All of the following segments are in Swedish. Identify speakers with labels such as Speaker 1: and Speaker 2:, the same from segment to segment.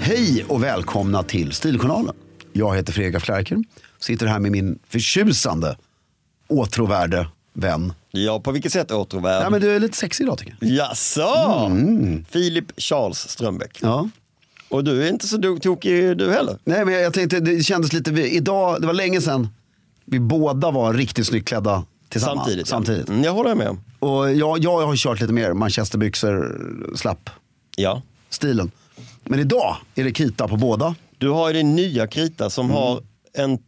Speaker 1: Hej och välkomna till Stiljournalen. Jag heter Fredrik Flärker. Sitter här med min förtjusande, åtråvärde vän.
Speaker 2: Ja, på vilket sätt återvärd?
Speaker 1: Ja, men du är lite sexig idag tycker jag.
Speaker 2: Jaså?
Speaker 1: Mm.
Speaker 2: Filip Charles Strömbäck.
Speaker 1: Ja.
Speaker 2: Och du är inte så do- tokig du heller.
Speaker 1: Nej, men jag tänkte, det kändes lite, vi, idag, det var länge sedan vi båda var riktigt snyggt klädda tillsammans.
Speaker 2: Samtidigt. ja.
Speaker 1: Samtidigt.
Speaker 2: Mm, jag håller med. om.
Speaker 1: Och jag, jag har kört lite mer manchesterbyxor, slapp,
Speaker 2: Ja.
Speaker 1: stilen. Men idag är det kita på båda.
Speaker 2: Du har ju din nya krita
Speaker 1: Mm.
Speaker 2: som har en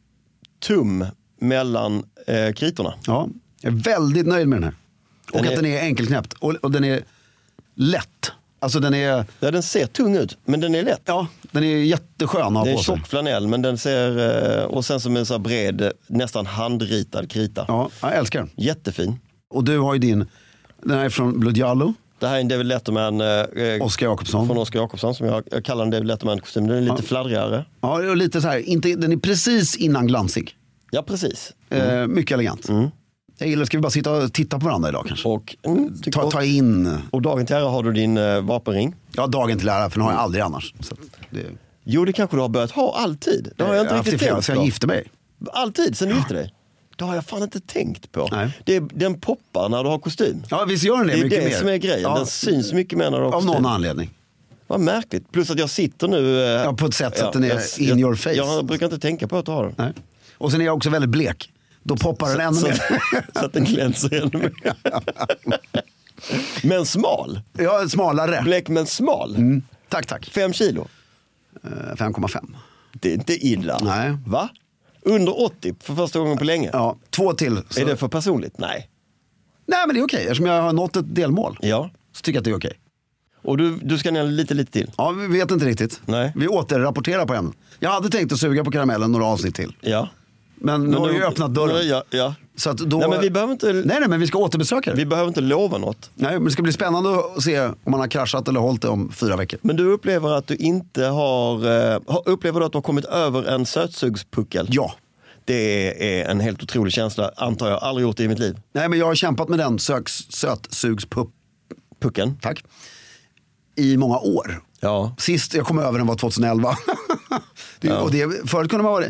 Speaker 2: tum mellan eh, kritorna.
Speaker 1: Ja, jag är väldigt nöjd med den här. Och
Speaker 2: Den
Speaker 1: att
Speaker 2: är-
Speaker 1: den är enkelknäppt. Och, och den är lätt. Alltså den är,
Speaker 2: Ja, den ser tung ut, men den är lätt.
Speaker 1: ja, den är jätteskön att ha
Speaker 2: Det är
Speaker 1: på sig.
Speaker 2: tjock flanell, men den ser, eh, och sen som en så här bred, eh, nästan handritad krita.
Speaker 1: Ja, jag älskar den.
Speaker 2: Jättefin.
Speaker 1: Och du har ju din, den här är från Blodjallo,
Speaker 2: Det här är en David Letterman eh,
Speaker 1: Oskar Jakobsson.
Speaker 2: från Oskar Jakobsson som jag, jag kallar en David Letterman-kostym. Den är lite fladdrigare.
Speaker 1: Ja, och lite så här, inte, den är precis innan glansig.
Speaker 2: Ja, precis.
Speaker 1: Eh, mycket elegant.
Speaker 2: Mm.
Speaker 1: Jag gillar, ska vi bara sitta och titta på varandra idag kanske?
Speaker 2: Och, mm, tycker-
Speaker 1: Ta, ta in,
Speaker 2: och dagen till ära har du din eh, vapenring.
Speaker 1: ja dagen till ära för den har jag aldrig annars. Så att det,
Speaker 2: Jo, det kanske du har börjat ha alltid. Det har jag inte
Speaker 1: Eh, haft i
Speaker 2: riktigt
Speaker 1: flera,
Speaker 2: tänkt
Speaker 1: Så jag
Speaker 2: på.
Speaker 1: gifte mig.
Speaker 2: Alltid, sen du gifte dig. Det har jag fan inte tänkt på.
Speaker 1: Nej.
Speaker 2: Det är, den poppar när du har kostym.
Speaker 1: Ja visst gör den det,
Speaker 2: det är
Speaker 1: mycket
Speaker 2: det
Speaker 1: mer.
Speaker 2: som är grejen.
Speaker 1: Ja,
Speaker 2: Den syns mycket mer när du har
Speaker 1: av
Speaker 2: kostym.
Speaker 1: någon anledning.
Speaker 2: Vad märkligt. Plus att jag sitter nu... eh,
Speaker 1: Ja, på ett sätt så att den är
Speaker 2: jag-
Speaker 1: in
Speaker 2: jag,
Speaker 1: your face.
Speaker 2: Jag brukar inte tänka på att du har den.
Speaker 1: Nej. Och sen är jag också väldigt blek. Då poppar den ännu
Speaker 2: Så,
Speaker 1: mer.
Speaker 2: så att den glänser ännu mer. men smal.
Speaker 1: Jag är smalare.
Speaker 2: Blek men smal.
Speaker 1: Tack, tack.
Speaker 2: Fem kilo.
Speaker 1: Eh, 5,5.
Speaker 2: Det är inte illa.
Speaker 1: Nej.
Speaker 2: Va? Under 80 för första gången på länge.
Speaker 1: Ja, två till. Så.
Speaker 2: Är det för personligt? Nej.
Speaker 1: Nej men det är okej, eftersom jag har nått ett delmål.
Speaker 2: Ja.
Speaker 1: Så tycker jag att det är okej.
Speaker 2: Och du, du ska ner lite, lite till?
Speaker 1: Ja, vi vet inte riktigt.
Speaker 2: Nej.
Speaker 1: Vi återrapporterar på ämnet. Jag hade tänkt att suga på karamellen några avsnitt till.
Speaker 2: Ja.
Speaker 1: Men, nu har vi ju öppnat dörren.
Speaker 2: Nu- Ja, ja.
Speaker 1: Så att då...
Speaker 2: Nej, men vi behöver inte-
Speaker 1: Nej, nej, men vi ska återbesöka det.
Speaker 2: Vi behöver inte lova något.
Speaker 1: Nej, men det ska bli spännande att se om man har kraschat eller hållit det om fyra veckor.
Speaker 2: Men du upplever att du inte har... eh, har- Upplever du att du har kommit över en sötsugspuckel?
Speaker 1: Ja.
Speaker 2: Det är en helt otrolig känsla, antar jag. Aldrig gjort det i mitt liv.
Speaker 1: Nej, men jag har kämpat med den söks, sötsugspupp,
Speaker 2: Pucken.
Speaker 1: tack, i många år.
Speaker 2: Ja.
Speaker 1: Sist jag kom över den var 2011. det, och det, förut kunde man vara...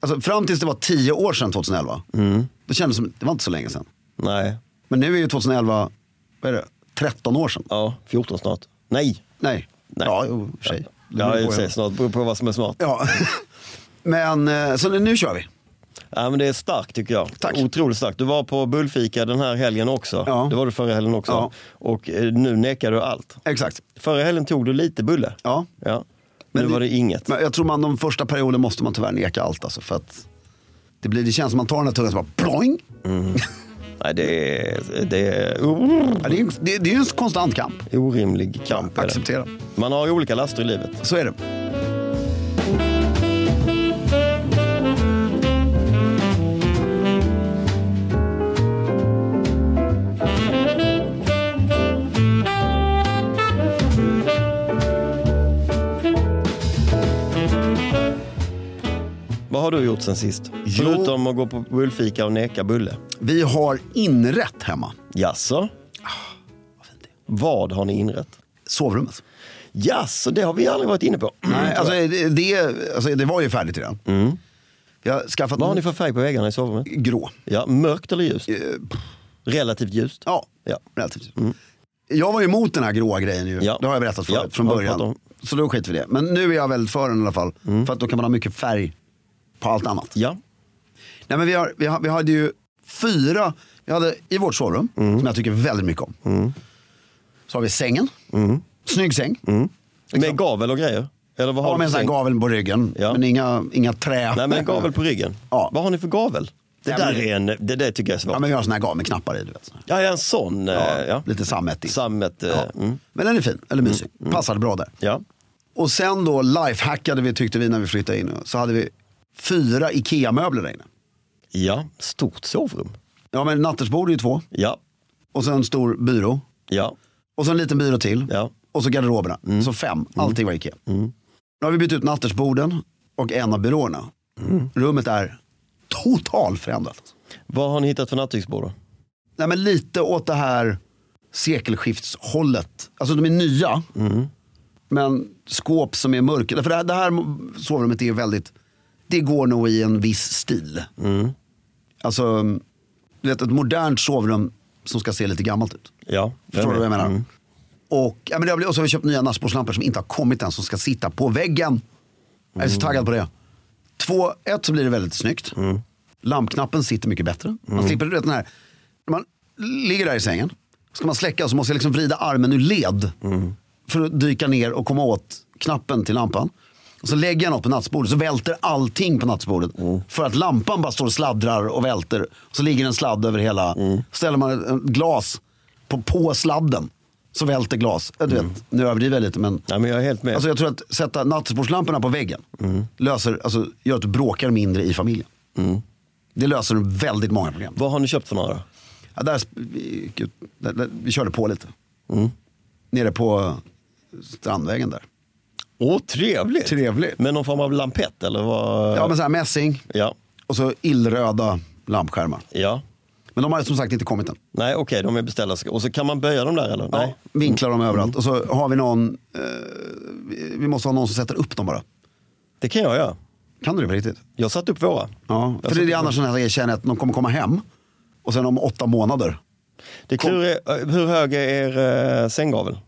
Speaker 1: Alltså, fram tills det var tio år sedan 2011.
Speaker 2: Mm.
Speaker 1: Då kändes det som, det var inte så länge sedan.
Speaker 2: Nej.
Speaker 1: Men nu är ju 2011, vad är det, 13 år sedan.
Speaker 2: Ja, 14 snart. Nej.
Speaker 1: Nej.
Speaker 2: Nej.
Speaker 1: Ja, jo, i och för sig. Det
Speaker 2: Ja,
Speaker 1: beror
Speaker 2: i och
Speaker 1: på
Speaker 2: för sig
Speaker 1: en.
Speaker 2: snart. Beror på vad som är smart.
Speaker 1: Ja. Men, eh, så nu kör vi.
Speaker 2: Ja, men det är starkt tycker jag.
Speaker 1: Tack.
Speaker 2: Otroligt starkt. Du var på bullfika den här helgen också.
Speaker 1: Ja.
Speaker 2: Det var du förra helgen också.
Speaker 1: Ja.
Speaker 2: Och eh, nu nekar du allt.
Speaker 1: Exakt.
Speaker 2: Förra helgen tog du lite bulle.
Speaker 1: Ja.
Speaker 2: ja.
Speaker 1: Men
Speaker 2: nu
Speaker 1: det-
Speaker 2: var det inget.
Speaker 1: Men jag tror man de första perioden måste man tyvärr neka allt alltså. För att det, blir, det känns som man tar den här tungan och så bara ploing.
Speaker 2: Mm. Nej, det är, det är
Speaker 1: Ja, det, är, det, det är ju en konstant kamp.
Speaker 2: orimlig kamp. är det.
Speaker 1: Acceptera.
Speaker 2: Man har ju olika laster i livet.
Speaker 1: Så är det.
Speaker 2: Vad har du gjort sen sist?
Speaker 1: Jo.
Speaker 2: Förutom att gå på bullfika och neka bulle.
Speaker 1: Vi har inrätt hemma.
Speaker 2: Jaså?
Speaker 1: Ah,
Speaker 2: Vad har ni inrett?
Speaker 1: Sovrummet.
Speaker 2: Jaså, det har vi aldrig varit inne på.
Speaker 1: Nej, alltså,
Speaker 2: Mm.
Speaker 1: det, det- alltså, det var ju färdigt redan. Jag har skaffat
Speaker 2: Vad har ni för färg på väggarna i sovrummet?
Speaker 1: grå.
Speaker 2: Ja, mörkt eller ljust?
Speaker 1: Eh, pff,
Speaker 2: Relativt ljust.
Speaker 1: Ja,
Speaker 2: Ja.
Speaker 1: relativt. Jag var ju emot den här gråa grejen ju.
Speaker 2: Mm. Ja.
Speaker 1: Det har jag berättat förut
Speaker 2: Ja,
Speaker 1: från
Speaker 2: har vi
Speaker 1: början.
Speaker 2: pratat
Speaker 1: Så då skiter vi i det. Men nu är jag väldigt för den i alla fall. För att då kan man ha mycket färg på allt annat.
Speaker 2: Ja.
Speaker 1: Nej, men vi, har, vi, har, vi hade ju fyra, vi hade i vårt sovrum,
Speaker 2: Mm.
Speaker 1: som jag tycker väldigt mycket om. Så har vi sängen,
Speaker 2: Mm.
Speaker 1: snygg säng.
Speaker 2: Med gavel och grejer? Eller vad
Speaker 1: Liksom.
Speaker 2: har
Speaker 1: Ja,
Speaker 2: du
Speaker 1: med en
Speaker 2: för
Speaker 1: sån här
Speaker 2: säng?
Speaker 1: gavel på ryggen,
Speaker 2: Ja.
Speaker 1: men inga, inga trä.
Speaker 2: Nej, men en gavel på ryggen.
Speaker 1: Ja.
Speaker 2: Vad har ni för gavel? Det
Speaker 1: Ja,
Speaker 2: där
Speaker 1: men-
Speaker 2: är en, det, det tycker jag är svårt.
Speaker 1: Ja, men vi har sån här gavel med knappar i. Du vet.
Speaker 2: Ja, ja en sån. Ja, ja.
Speaker 1: Lite sammetig.
Speaker 2: Sammet. eh,
Speaker 1: Ja.
Speaker 2: Mm.
Speaker 1: Men den är fin, eller mysig. Passade bra där.
Speaker 2: ja.
Speaker 1: Och sen då lifehackade vi tyckte vi när vi flyttade in. Så hade vi fyra IKEA-möbler där inne.
Speaker 2: Ja, stort sovrum.
Speaker 1: Ja men nattduksbord är ju två.
Speaker 2: Ja,
Speaker 1: Och sen en stor byrå.
Speaker 2: ja,
Speaker 1: Och så en liten byrå till.
Speaker 2: ja.
Speaker 1: Och så garderoberna. Så fem. Allting var Ikea. Nu har vi bytt ut nattersborden och en av byråerna. Rummet är totalförändrat.
Speaker 2: Vad har ni hittat för nattduksbord då?
Speaker 1: Nej, men lite åt det här sekelskiftshållet. Alltså de är nya. Men skåp som är mörka. För det här, det här sovrummet är ju väldigt, det går nog i en viss stil. Alltså, du vet ett modernt sovrum som ska se lite gammalt ut.
Speaker 2: Ja,
Speaker 1: Förstår du
Speaker 2: med.
Speaker 1: vad jag menar?
Speaker 2: Mm.
Speaker 1: Och, ja, men det har blivit, och så har vi köpt nya nattbordslampor som inte har kommit än, som ska sitta på väggen. Jag är så
Speaker 2: Mm.
Speaker 1: taggad på det. Två, ett så blir det väldigt snyggt. Lampknappen sitter mycket bättre. Man slipper du vet, den här, när man ligger där i sängen, ska man släcka så måste jag liksom vrida armen ur led. För att dyka ner och komma åt knappen till lampan. Och så lägger jag något på nattbordet, så välter allting på nattbordet. För att lampan bara står och sladdrar och välter. Så ligger en sladd över hela. Ställer man ett- ett glas på, på sladden så välter glas. Ja, Du vet, Nu överdriver jag lite men.
Speaker 2: Nej, men jag är helt med.
Speaker 1: Alltså jag tror att sätta nattbordslamporna på väggen löser, alltså, gör att du bråkar mindre i familjen. Det löser väldigt många problem.
Speaker 2: Vad har ni köpt för några?
Speaker 1: Ja, där, sp- vi, gud, där, där, vi körde på lite.
Speaker 2: Mm.
Speaker 1: Nere på eh, Strandvägen där.
Speaker 2: Åh, trevligt!
Speaker 1: Trevligt.
Speaker 2: Men någon form av lampett eller vad?
Speaker 1: Ja men så här mässing
Speaker 2: ja.
Speaker 1: och så illröda lampskärmar.
Speaker 2: ja.
Speaker 1: Men de har som sagt inte kommit än.
Speaker 2: Nej, okej, de är beställda. Och så kan man böja dem där eller? Nej.
Speaker 1: Ja, vinklar dem överallt. Och så har vi någon, eh, vi- vi måste ha någon som sätter upp dem bara.
Speaker 2: Det kan jag göra.
Speaker 1: Kan du det på riktigt?
Speaker 2: Jag satte upp våra.
Speaker 1: Ja, för det är det annars den här grejen, känner jag att de kommer komma hem och sen om åtta månader.
Speaker 2: Det kluriga är, eh, hur hög är er eh, sänggavel?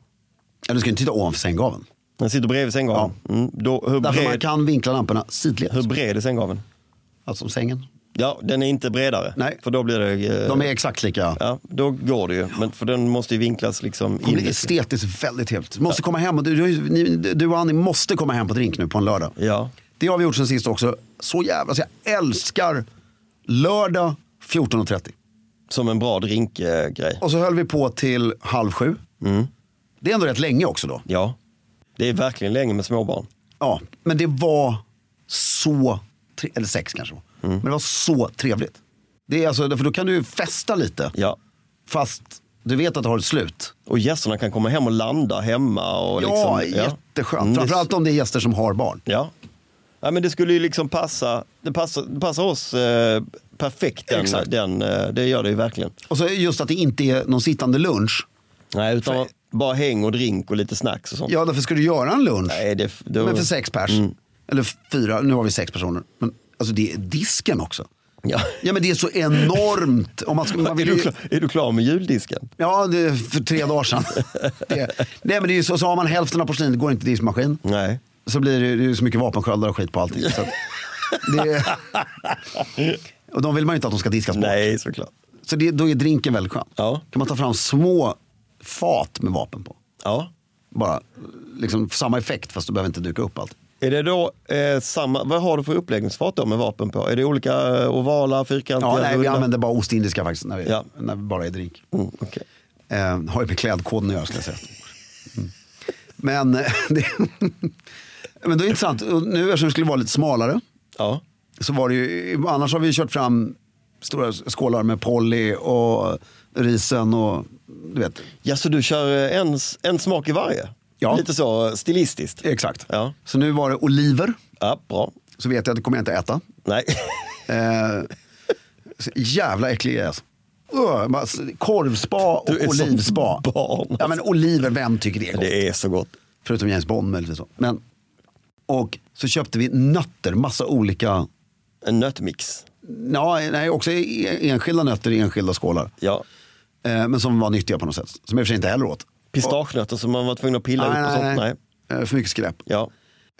Speaker 1: Ja, du ska ju inte titta ovanför sänggaveln.
Speaker 2: Den sitter bredvid sänggaveln. Mm. Då, hur,
Speaker 1: Därför man
Speaker 2: bred,
Speaker 1: kan vinkla lamporna sidled.
Speaker 2: hur bred är sänggaveln?
Speaker 1: Alltså som sängen.
Speaker 2: Ja, den är inte bredare.
Speaker 1: Nej.
Speaker 2: För då blir det... eh,
Speaker 1: De är exakt lika.
Speaker 2: Ja, då går det ju. Men för den måste ju vinklas liksom
Speaker 1: Det blir
Speaker 2: in.
Speaker 1: estetiskt väldigt trevligt. Du måste komma hem och du, du, ni, du och Annie måste komma hem på drink nu på en lördag.
Speaker 2: Ja.
Speaker 1: Det har vi gjort sen sist också. Så jävla, alltså jag älskar lördag 14.30.
Speaker 2: Som en bra drinkgrej.
Speaker 1: Och så höll vi på till halv sju.
Speaker 2: Mm.
Speaker 1: Det är ändå rätt länge också då.
Speaker 2: Ja. Det är verkligen länge med småbarn.
Speaker 1: Ja, men det var så, tre- eller sex kanske det var.
Speaker 2: Mm.
Speaker 1: Men det var så trevligt. Det är alltså, för då kan du ju festa lite.
Speaker 2: Ja.
Speaker 1: Fast du vet att det har ett slut.
Speaker 2: Och gästerna kan komma hem och landa hemma. Och
Speaker 1: ja,
Speaker 2: liksom,
Speaker 1: jätteskönt.
Speaker 2: Mm, det-
Speaker 1: Framförallt om det är gäster som har barn.
Speaker 2: Ja. ja, men det skulle ju liksom passa. Det passar, det passar oss eh, perfekt. Den,
Speaker 1: Exakt.
Speaker 2: den, eh, det gör det ju verkligen.
Speaker 1: Och så just att det inte är någon sittande lunch.
Speaker 2: Nej, utan bara häng och drink och lite snacks och sånt.
Speaker 1: Ja, därför ska du göra en lunch.
Speaker 2: Nej, Mm. det, det,
Speaker 1: Men för sex pers. Eller fyra, nu har vi sex personer. Men alltså det är disken också.
Speaker 2: Mm, Ja.
Speaker 1: Ja, men det är så enormt. Om man, ska, man
Speaker 2: Är
Speaker 1: vill
Speaker 2: du,
Speaker 1: ju,
Speaker 2: klar, är du klar med juldisken?
Speaker 1: ja, det, är för tre dagar sedan. Det, nej, men det är ju så, så har man hälften av porslinet går inte i diskmaskin.
Speaker 2: Nej.
Speaker 1: Så blir det, det är ju så mycket vapensköldar och skit på allting. Så att det, och de vill man ju inte att de ska diskas bort.
Speaker 2: Nej, såklart.
Speaker 1: Så det, då är drinken väldigt skön.
Speaker 2: Ja.
Speaker 1: Kan man ta fram små fat med vapen på.
Speaker 2: Ja.
Speaker 1: Bara liksom, samma effekt fast du behöver inte duka upp allt.
Speaker 2: Är det då eh, samma, vad har du för uppläggningsfat då med vapen på? Är det olika eh, ovala, fyrkantiga?
Speaker 1: Ja, nej, vi
Speaker 2: runda?
Speaker 1: använder bara ostindiska faktiskt när vi,
Speaker 2: Ja.
Speaker 1: när vi bara är drink.
Speaker 2: Mm, okej.
Speaker 1: Eh, har ju med klädkoden att göra ska jag säga. Mm. Men, eh, det, men det är intressant. Och Nu eftersom det skulle vara lite smalare.
Speaker 2: Ja.
Speaker 1: Så var det ju, annars har vi ju kört fram stora skålar med Polly och risen och du vet.
Speaker 2: ja, så du kör eh, en, en smak i varje?
Speaker 1: Ja.
Speaker 2: Lite så eh, stilistiskt?
Speaker 1: Exakt.
Speaker 2: Ja.
Speaker 1: Så nu var det oliver.
Speaker 2: Ja, bra.
Speaker 1: Så vet jag att det kommer jag inte äta.
Speaker 2: Nej.
Speaker 1: Eh, så jävla äcklig är alltså. Öh, bara s- Korvspa och
Speaker 2: Du är som
Speaker 1: olivspa.
Speaker 2: barn.
Speaker 1: Ja men oliver, vem tycker det är gott?
Speaker 2: Det är så gott.
Speaker 1: Förutom James Bond möjligtvis. då. Men, och så köpte vi nötter, massa olika.
Speaker 2: En nötmix.
Speaker 1: Ja, nej, också e- enskilda nötter i enskilda skålar.
Speaker 2: Ja.
Speaker 1: Eh, men som var nyttiga på något sätt. Som jag i och för sig inte heller åt.
Speaker 2: Pistagenötter som man var tvungen att pilla
Speaker 1: Nej,
Speaker 2: upp och
Speaker 1: nej,
Speaker 2: sånt.
Speaker 1: nej.
Speaker 2: Nej.
Speaker 1: Eh, För mycket skräp.
Speaker 2: Ja.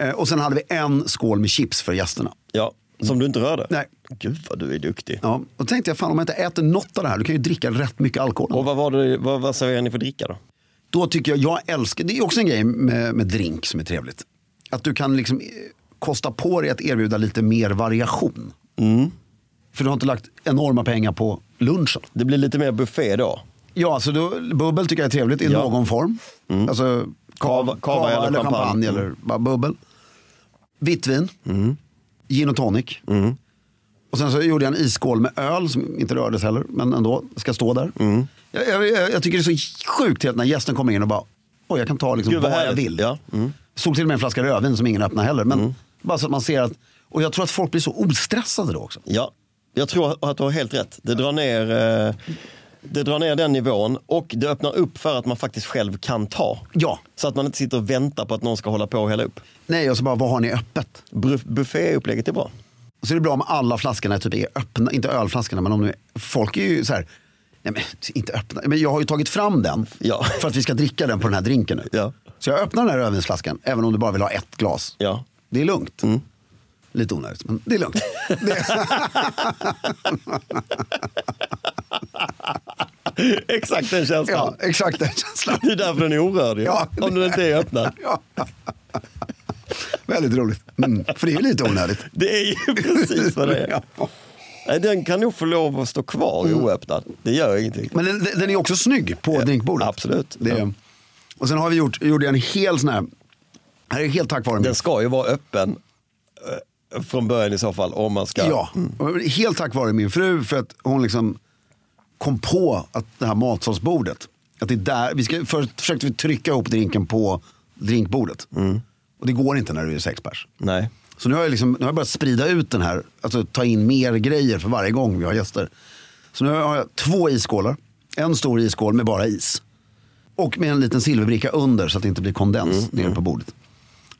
Speaker 1: Eh, Och sen hade vi en skål med chips för gästerna.
Speaker 2: ja. Som du inte rörde?
Speaker 1: Nej.
Speaker 2: Gud vad du är duktig.
Speaker 1: Ja, och då tänkte jag, fan om jag inte äter något av det här, då kan jag ju dricka rätt mycket alkohol.
Speaker 2: Och vad, var det, vad, vad serverade ni för dricka då?
Speaker 1: Då tycker jag, jag älskar, det är också en grej med, med drink som är trevligt. Att du kan liksom eh, kosta på dig att erbjuda lite mer variation. För du har inte lagt enorma pengar på lunchen.
Speaker 2: Det blir lite mer buffé då?
Speaker 1: Ja, så då, bubbel tycker jag är trevligt i
Speaker 2: Ja. Mm.
Speaker 1: någon form. Alltså
Speaker 2: Kava- kava eller
Speaker 1: eller champagne,
Speaker 2: champagne. Mm.
Speaker 1: eller bara bubbel. Vitt vin, gin och tonic.
Speaker 2: Mm.
Speaker 1: Och sen så gjorde jag en isskål med öl som inte rördes heller, men ändå ska stå där.
Speaker 2: Mm.
Speaker 1: Jag, jag, jag- jag tycker det är så sjukt helt när gästen kommer in och bara, oj jag kan ta liksom
Speaker 2: Gud, vad
Speaker 1: vad jag
Speaker 2: härligt.
Speaker 1: vill.
Speaker 2: Ja, mm.
Speaker 1: Såg till och med en flaska rödvin som ingen öppnade heller. Men bara så att man ser att, och jag tror att folk blir så ostressade då också.
Speaker 2: Ja, jag tror att du har helt rätt. Det drar ner, eh, det drar ner den nivån och det öppnar upp för att man faktiskt själv kan ta.
Speaker 1: Ja,
Speaker 2: Så att man inte sitter och väntar på att någon ska hålla på och hälla upp.
Speaker 1: nej och så bara, vad har ni öppet?
Speaker 2: Bru- Bufféupplägget är bra.
Speaker 1: Och så är det bra om alla flaskorna typ är öppna, inte ölflaskorna men om nu, folk är ju så här, nej men inte öppna, men jag har ju tagit fram den
Speaker 2: Ja.
Speaker 1: för att vi ska dricka den på den här drinken nu.
Speaker 2: Ja.
Speaker 1: Så jag öppnar den här rödvinsflaskan, även om du bara vill ha ett glas.
Speaker 2: Ja.
Speaker 1: Det är lugnt.
Speaker 2: Mm.
Speaker 1: Lite onödigt, men det är lugnt.
Speaker 2: Exakt den känslan.
Speaker 1: ja, exakt den känslan.
Speaker 2: Det är därför den är orörd ju.
Speaker 1: Ja.
Speaker 2: Om den inte är öppnad.
Speaker 1: Ja. Väldigt roligt. Mm. För det är ju lite onödigt.
Speaker 2: Det är ju precis vad det är.
Speaker 1: Ja. Mm.
Speaker 2: Nej, Den kan nog få lov att stå kvar oöppnad. Det gör ingenting.
Speaker 1: Men den, den är också snygg på drinkbordet.
Speaker 2: absolut.
Speaker 1: Det är,
Speaker 2: Ja.
Speaker 1: Och sen har vi gjort, gjorde jag en hel sån här, här är helt tack vare mig.
Speaker 2: Den ska ju vara öppen eh, från början i så fall. Om man ska...
Speaker 1: Ja, helt tack vare min fru för att hon liksom kom på att det här matsalsbordet. Att det är där, vi ska, först försökte vi trycka ihop drinken på drinkbordet. Och det går inte när du är sex pers.
Speaker 2: Nej.
Speaker 1: Så nu har, jag liksom, nu har jag börjat sprida ut den här, alltså ta in mer grejer för varje gång vi har gäster. Så nu har jag två isskålar, en stor isskål med bara is. Och med en liten silverbricka under så att det inte blir kondens
Speaker 2: Mm,
Speaker 1: nere på bordet.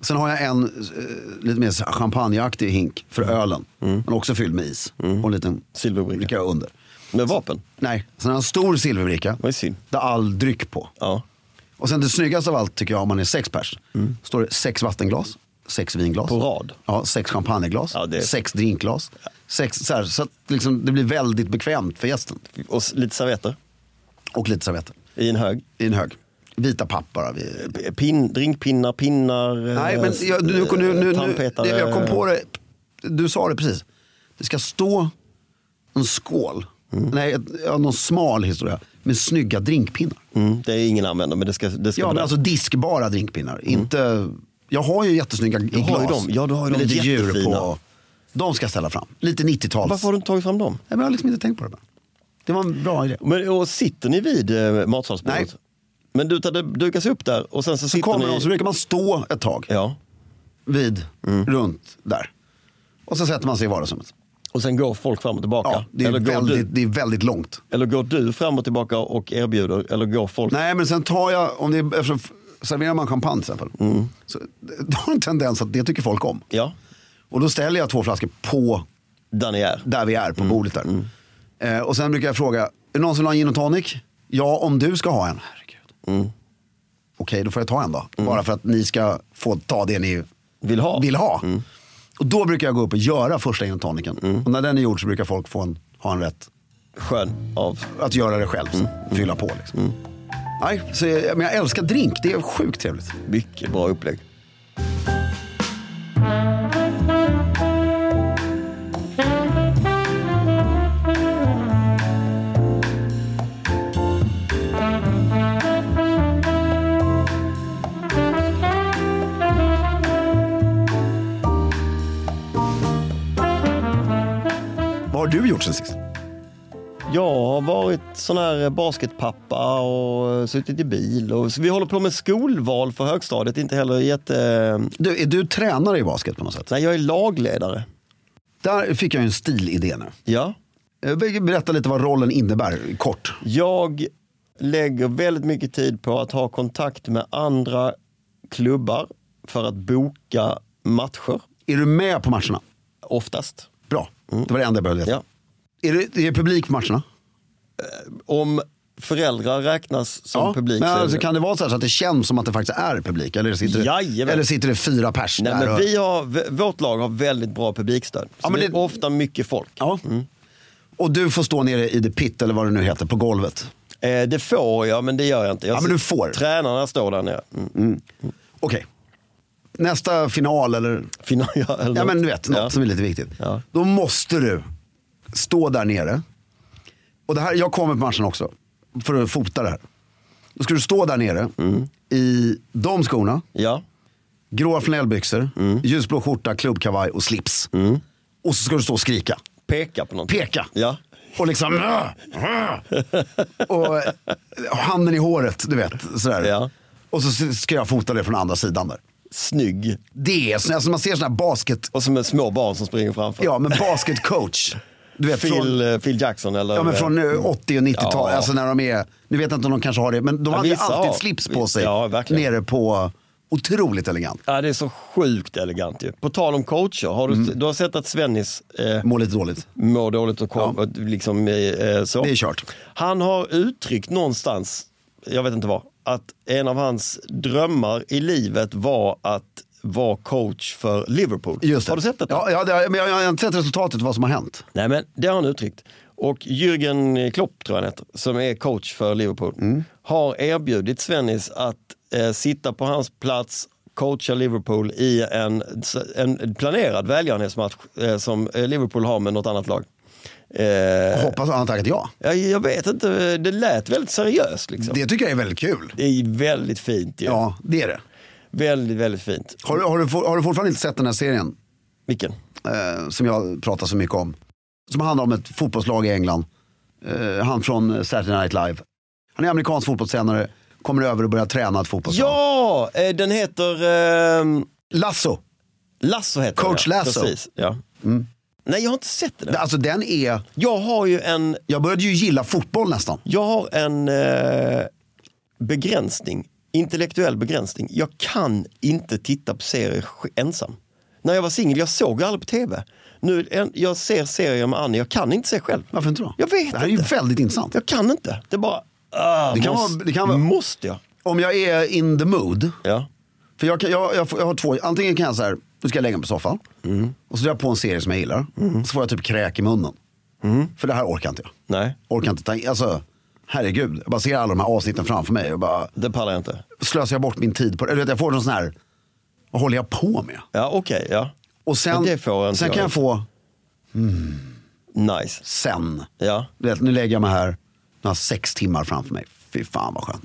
Speaker 1: Sen har jag en eh, lite mer så här champagneaktig hink för ölen. Men också fylld med is. Och en liten
Speaker 2: Mm, Silverbricka.
Speaker 1: bricka under.
Speaker 2: Med vapen?
Speaker 1: Nej, sen har jag en stor silverbricka.
Speaker 2: Vad är synd.
Speaker 1: Där all dryck på.
Speaker 2: Ja.
Speaker 1: Och sen det snyggaste av allt tycker jag om man är sex pers. Står det sex vattenglas, sex vinglas.
Speaker 2: På rad?
Speaker 1: Ja, sex champagneglas,
Speaker 2: Ja, det är-
Speaker 1: sex drinkglas. Sex, så här, så att liksom, det blir väldigt bekvämt för gästen.
Speaker 2: Och s- lite servetter
Speaker 1: Och lite servetter
Speaker 2: i en hög.
Speaker 1: i en hög. Vita papp bara. Vi...
Speaker 2: P- Pin, drinkpinnar, pinnar,
Speaker 1: Nej,
Speaker 2: eh,
Speaker 1: men jag, nu, nu, nu, nu,
Speaker 2: tandpetare.
Speaker 1: jag kom på det. Du sa det precis. Det ska stå en skål,
Speaker 2: Mm.
Speaker 1: nej, ett, ja, någon smal historia, med snygga drinkpinnar.
Speaker 2: Mm, det är ingen använder, men det ska, det ska
Speaker 1: Ja,
Speaker 2: vara
Speaker 1: men
Speaker 2: där.
Speaker 1: alltså diskbara drinkpinnar. Inte, jag har ju jättesnygga i
Speaker 2: Mm. Du har ju
Speaker 1: glas.
Speaker 2: dem. Ja, du har ju
Speaker 1: med
Speaker 2: dem
Speaker 1: lite djur
Speaker 2: jättefina.
Speaker 1: på. De ska jag ställa fram. Lite 90-tals.
Speaker 2: Varför har du inte tagit fram dem?
Speaker 1: Nej, men jag har liksom inte tänkt på det. Bara. Det var en bra idé.
Speaker 2: Men, och sitter ni vid eh, matsalsbordet?
Speaker 1: Nej.
Speaker 2: Men du, det dukas upp där och sen så,
Speaker 1: Så
Speaker 2: sitter
Speaker 1: kommer
Speaker 2: ni...
Speaker 1: de så brukar man stå ett tag
Speaker 2: Ja, Mm.
Speaker 1: vid, runt där. Och så sätter man sig i vardagsrummet.
Speaker 2: och sen går folk fram och tillbaka.
Speaker 1: Ja, det är,
Speaker 2: eller, går
Speaker 1: väldigt,
Speaker 2: du,
Speaker 1: det är väldigt långt.
Speaker 2: eller går du fram och tillbaka och erbjuder? Eller går folk...
Speaker 1: Nej, men sen tar jag, om det är, eftersom, serverar man champagne till exempel.
Speaker 2: Mm.
Speaker 1: Så, det har en tendens att det tycker folk om.
Speaker 2: Ja,
Speaker 1: Och då ställer jag två flaskor på
Speaker 2: Där ni är.
Speaker 1: där vi är på bordet där. Eh, och sen brukar jag fråga, är det någon som vill ha en gin och tonic? Ja, om du ska ha en. Herregud. Okej, då får jag ta en då. Bara för att ni ska få ta det ni
Speaker 2: Vill ha.
Speaker 1: vill ha. Och då brukar jag gå upp och göra första gin och tonicen. Och när den är gjord så brukar folk få en, ha en rätt
Speaker 2: Skön av...
Speaker 1: att göra det själv. så Fylla på liksom. Nej, så jag, men jag älskar drink. Det är sjukt trevligt.
Speaker 2: Mycket bra upplägg.
Speaker 1: Vad har du gjort sen sist?
Speaker 2: Jag har varit sån här eh, basketpappa och eh, suttit i bil. Och, så vi håller på med skolval för högstadiet. Inte heller jätte...
Speaker 1: Du, är du tränare i basket på något sätt?
Speaker 2: Nej, jag är lagledare.
Speaker 1: Där fick jag ju en stilidé nu.
Speaker 2: Ja.
Speaker 1: Eh, Berätta lite vad rollen innebär, kort.
Speaker 2: Jag lägger väldigt mycket tid på att ha kontakt med andra klubbar för att boka matcher,
Speaker 1: Är du med på matcherna?
Speaker 2: oftast.
Speaker 1: Bra, det var det enda jag behövde veta.
Speaker 2: Mm. Ja.
Speaker 1: Är, det, är det publik på matcherna?
Speaker 2: Om föräldrar räknas som
Speaker 1: ja.
Speaker 2: publik
Speaker 1: men
Speaker 2: så är det-
Speaker 1: alltså, kan det vara så, här så att det känns som att det faktiskt är publik? Eller sitter det,
Speaker 2: Jajamän.
Speaker 1: eller sitter det fyra pers
Speaker 2: Nej,
Speaker 1: där?
Speaker 2: men
Speaker 1: och-
Speaker 2: vi har, v- vårt lag har väldigt bra publikstöd. Så
Speaker 1: Ja, men
Speaker 2: det
Speaker 1: det-
Speaker 2: är ofta mycket folk.
Speaker 1: ja. Och du får stå nere i the pit, eller vad det nu heter, på golvet.
Speaker 2: Eh, det får jag, men det gör jag inte. Jag
Speaker 1: Ja, men du
Speaker 2: ser-
Speaker 1: får.
Speaker 2: Tränarna står där nere. Mm.
Speaker 1: Okej. Nästa final, eller,
Speaker 2: Fina- ja, eller
Speaker 1: ja,
Speaker 2: något.
Speaker 1: men du vet, något
Speaker 2: Ja.
Speaker 1: som är lite viktigt.
Speaker 2: Ja.
Speaker 1: Då måste du stå där nere. Och det här, jag kommer på matchen också, för att fota det här. Då ska du stå där nere
Speaker 2: Mm.
Speaker 1: i de skorna.
Speaker 2: Ja.
Speaker 1: Gråa flanellbyxor, ljusblå skjorta, klubbkavaj och slips. Och så ska du stå och skrika.
Speaker 2: Peka på något.
Speaker 1: Peka.
Speaker 2: Ja.
Speaker 1: Och liksom... "Åh, åh." och eh, handen i håret, du vet. Sådär.
Speaker 2: Ja.
Speaker 1: Och så ska jag fota det från andra sidan där.
Speaker 2: Snygg.
Speaker 1: Det är så, alltså man ser sådana här basket...
Speaker 2: Och som är små barn som springer framför.
Speaker 1: Ja, men basketcoach. Du vet,
Speaker 2: Phil,
Speaker 1: från,
Speaker 2: eh, Phil Jackson eller?
Speaker 1: ja, men från eh, 80 och 90-talet.
Speaker 2: Mm. Ja.
Speaker 1: Alltså när de är... Nu vet jag inte om de kanske har det, men de
Speaker 2: Ja,
Speaker 1: hade ju
Speaker 2: vissa
Speaker 1: alltid
Speaker 2: har-
Speaker 1: slips på sig.
Speaker 2: Ja, verkligen.
Speaker 1: nere på... Otroligt elegant.
Speaker 2: Ja, det är så sjukt elegant ju. På tal om coacher, har du,
Speaker 1: Mm.
Speaker 2: du har sett att Svennis eh,
Speaker 1: Mår lite dåligt.
Speaker 2: mår dåligt och kom,
Speaker 1: Ja.
Speaker 2: och liksom, eh, så.
Speaker 1: Det är kört.
Speaker 2: Han har uttryckt någonstans, jag vet inte vad, att en av hans drömmar i livet var att vara coach för Liverpool.
Speaker 1: Just det.
Speaker 2: Har du sett detta?
Speaker 1: Ja, ja, det, har jag, men jag, jag har inte sett resultatet, vad som har hänt.
Speaker 2: Nej, men det har han uttryckt. Och Jürgen Klopp, tror jag han heter, som är coach för Liverpool,
Speaker 1: Mm.
Speaker 2: har erbjudit Svennis att eh, sitta på hans plats, coacha Liverpool i en, en planerad välgörenhetsmatch eh, som eh, Liverpool har med något annat lag. Eh,
Speaker 1: Hoppas han har tackat ja.
Speaker 2: jag, jag vet inte, det lät väldigt seriöst. Liksom. Det...
Speaker 1: Det tycker jag är väldigt kul.
Speaker 2: är väldigt fint ju.
Speaker 1: Ja, det är det.
Speaker 2: Väldigt, väldigt fint.
Speaker 1: Har, du- har, du, for- har du fortfarande inte sett den här serien
Speaker 2: Vilken?
Speaker 1: eh, som jag pratar så mycket om? Som handlar om ett fotbollslag i England. Eh, han från Saturday Night Live. Han är amerikansk fotbollstränare, kommer över och börjar träna ett fotbollslag.
Speaker 2: Ja, eh, den heter... Eh,
Speaker 1: Lasso!
Speaker 2: Lasso heter
Speaker 1: Coach
Speaker 2: den. ja.
Speaker 1: Lasso. Mm.
Speaker 2: Precis, ja. Nej, jag har inte sett den.
Speaker 1: Alltså den är...
Speaker 2: Jag har ju en,
Speaker 1: Jag började ju gilla fotboll nästan.
Speaker 2: jag har en eh, begränsning, intellektuell begränsning. Jag kan inte titta på serier sj- ensam. När jag var singel, jag såg aldrig på tv. Nu, en, jag ser serier med Annie, jag kan inte se själv.
Speaker 1: Varför inte då?
Speaker 2: Jag vet
Speaker 1: Det här är ju
Speaker 2: inte.
Speaker 1: väldigt intressant.
Speaker 2: Jag kan inte. Det är bara... ah,
Speaker 1: Det kan
Speaker 2: måste,
Speaker 1: vara- det kan vara-
Speaker 2: måste jag?
Speaker 1: Om jag är in the mood,
Speaker 2: Ja.
Speaker 1: För jag, kan, jag, jag, får- jag har två, antingen kan jag så här, nu ska jag lägga mig på soffan. Och så drar jag på en serie som jag gillar. Så får jag typ kräk i munnen. För det här orkar inte jag.
Speaker 2: Nej,
Speaker 1: Orkar inte ta in, alltså herregud. Jag bara ser alla de här avsnitten framför mig. Och bara
Speaker 2: det pallar jag inte.
Speaker 1: slösar jag bort min tid på det. Eller du vet, jag får någon sån här, vad håller jag på med?
Speaker 2: Ja, okej. ja.
Speaker 1: Och sen,
Speaker 2: Men det får jag inte
Speaker 1: sen kan
Speaker 2: göra.
Speaker 1: jag få,
Speaker 2: Nice.
Speaker 1: sen.
Speaker 2: Ja.
Speaker 1: Du vet, nu lägger jag mig här, nu har jag sex timmar framför mig. Fy fan vad skönt.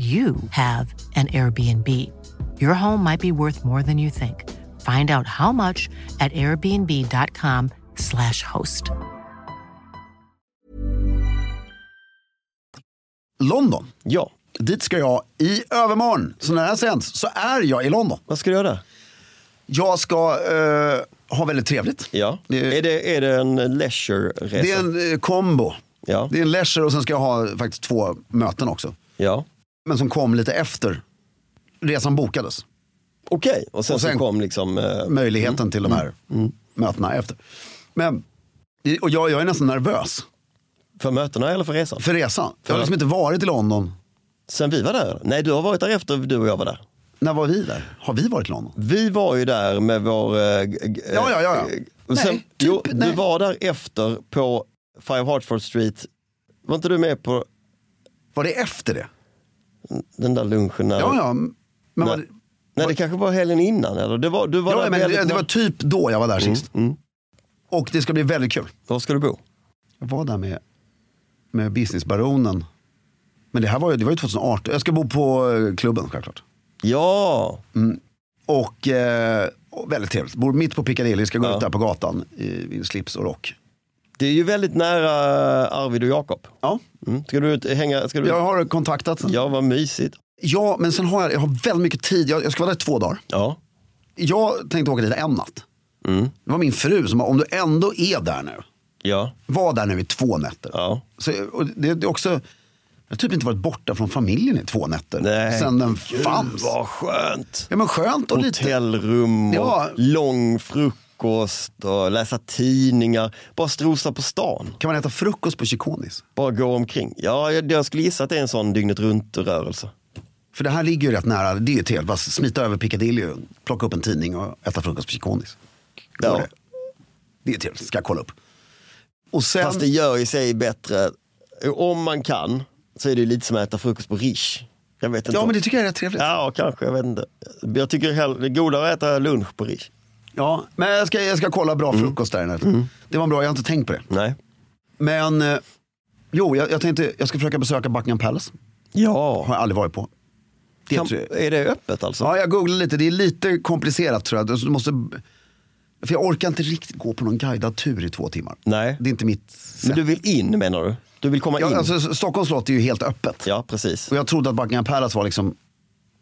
Speaker 3: you have an Airbnb. Your home might be worth more than you think. Find out how much at airbnb.com/slash host.
Speaker 1: London.
Speaker 2: Ja.
Speaker 1: Dit ska jag i övermorgon. Så när det här sänds så är jag i London.
Speaker 2: Vad ska du göra där?
Speaker 1: Jag ska eh, ha väldigt trevligt.
Speaker 2: Ja.
Speaker 1: Det-
Speaker 2: Är, det, är det en leisure-resa?
Speaker 1: Det är en eh, kombo.
Speaker 2: Ja.
Speaker 1: Det är en leisure och sen ska jag ha faktiskt två möten också.
Speaker 2: ja.
Speaker 1: Men som kom lite efter resan bokades.
Speaker 2: Okej, och, sen
Speaker 1: Och sen-
Speaker 2: så kom liksom... eh,
Speaker 1: Möjligheten till de här
Speaker 2: Mm.
Speaker 1: mötena efter. Men, och jag, jag är nästan nervös
Speaker 2: För mötena eller för resan?
Speaker 1: för resan. Jag har
Speaker 2: Ja.
Speaker 1: liksom inte varit i London.
Speaker 2: Sen vi var där? Nej, du har varit där efter du och jag var där.
Speaker 1: När var vi där? Har vi varit i London?
Speaker 2: Vi var ju där med vår... eh, g- g-
Speaker 1: Ja, ja, ja, ja.
Speaker 2: eh,
Speaker 1: Nej,
Speaker 2: Och sen,
Speaker 1: typ,
Speaker 2: jo,
Speaker 1: nej.
Speaker 2: Du var där efter på Five Hartford Street. Var inte du med på
Speaker 1: Var det efter det?
Speaker 2: den där lunchen? När,
Speaker 1: Ja, ja. Men var det,
Speaker 2: Nej, nej, det kanske var helgen innan. Eller? Det var, du var
Speaker 1: ja
Speaker 2: där
Speaker 1: men det,
Speaker 2: väldigt-
Speaker 1: det var typ då jag var där sist.
Speaker 2: mm.
Speaker 1: Och det ska bli väldigt kul.
Speaker 2: Var ska du bo?
Speaker 1: Jag var där med, med businessbaronen. Men det här var ju, det var ju 2018. Jag ska bo på eh, klubben självklart.
Speaker 2: Ja,
Speaker 1: Och, eh, och väldigt trevligt. Bor mitt på Piccadilly, ska gå
Speaker 2: Ja.
Speaker 1: ut där på gatan i, i slips och rock.
Speaker 2: det är ju väldigt nära eh, Arvid och Jakob.
Speaker 1: Ja,
Speaker 2: Mm. Ska du ut- hänga? Ska du...
Speaker 1: jag har kontaktat. Ja.
Speaker 2: Mm. ja, vad mysigt.
Speaker 1: ja, men sen har jag, jag har väldigt mycket tid. Jag, jag ska vara där i två dagar.
Speaker 2: Ja.
Speaker 1: Jag tänkte åka dit en natt.
Speaker 2: Mm.
Speaker 1: Det var min fru som bara, om du ändå är där nu,
Speaker 2: Ja.
Speaker 1: var där nu i två nätter.
Speaker 2: ja.
Speaker 1: Så, och det, det är också, jag har typ inte varit borta från familjen i två nätter.
Speaker 2: Nej.
Speaker 1: Sen den
Speaker 2: Gud,
Speaker 1: fanns.
Speaker 2: vad skönt.
Speaker 1: Ja men skönt och lite.
Speaker 2: Hotellrum och
Speaker 1: Ja.
Speaker 2: lång frukost och läsa tidningar. Bara strosa på stan.
Speaker 1: Kan man äta frukost på Chiconis?
Speaker 2: Bara gå omkring. Ja, jag, jag skulle gissa att det är en sån dygnet runt-rörelse.
Speaker 1: För det här ligger ju rätt nära, det är ju ett helt, bara smita över Piccadilly, och plocka upp en tidning och äta frukost på Chiconis.
Speaker 2: Ja.
Speaker 1: det? Det är trevligt, ska jag kolla upp. Och sen,
Speaker 2: Fast det gör i sig bättre. Om man kan så är det lite som att äta frukost på Rish. Jag vet inte.
Speaker 1: ja
Speaker 2: om-
Speaker 1: men det tycker jag är rätt trevligt. Ja.
Speaker 2: Ja, kanske. Jag vet inte. Jag tycker hellre, det är godare att äta lunch på Rish.
Speaker 1: men jag ska, jag ska kolla bra
Speaker 2: Mm.
Speaker 1: frukost där i natt. Det var en bra, jag har inte tänkt på det.
Speaker 2: Nej.
Speaker 1: Men, eh, jo jag, jag tänkte, jag ska försöka besöka Buckingham Palace. Har
Speaker 2: Ja.
Speaker 1: jag aldrig varit på. Det
Speaker 2: Kan,
Speaker 1: tror jag.
Speaker 2: är det öppet alltså?
Speaker 1: Ja, jag googlade lite. Det är lite komplicerat tror jag. Alltså, Du måste... För jag orkar inte riktigt gå på någon guidad tur i två timmar.
Speaker 2: Nej.
Speaker 1: Det är inte mitt sätt.
Speaker 2: Men du vill in menar du? Du vill komma in?
Speaker 1: ja, alltså, Stockholms slott är ju helt öppet.
Speaker 2: ja, precis.
Speaker 1: Och jag trodde att Buckingham Palace var liksom,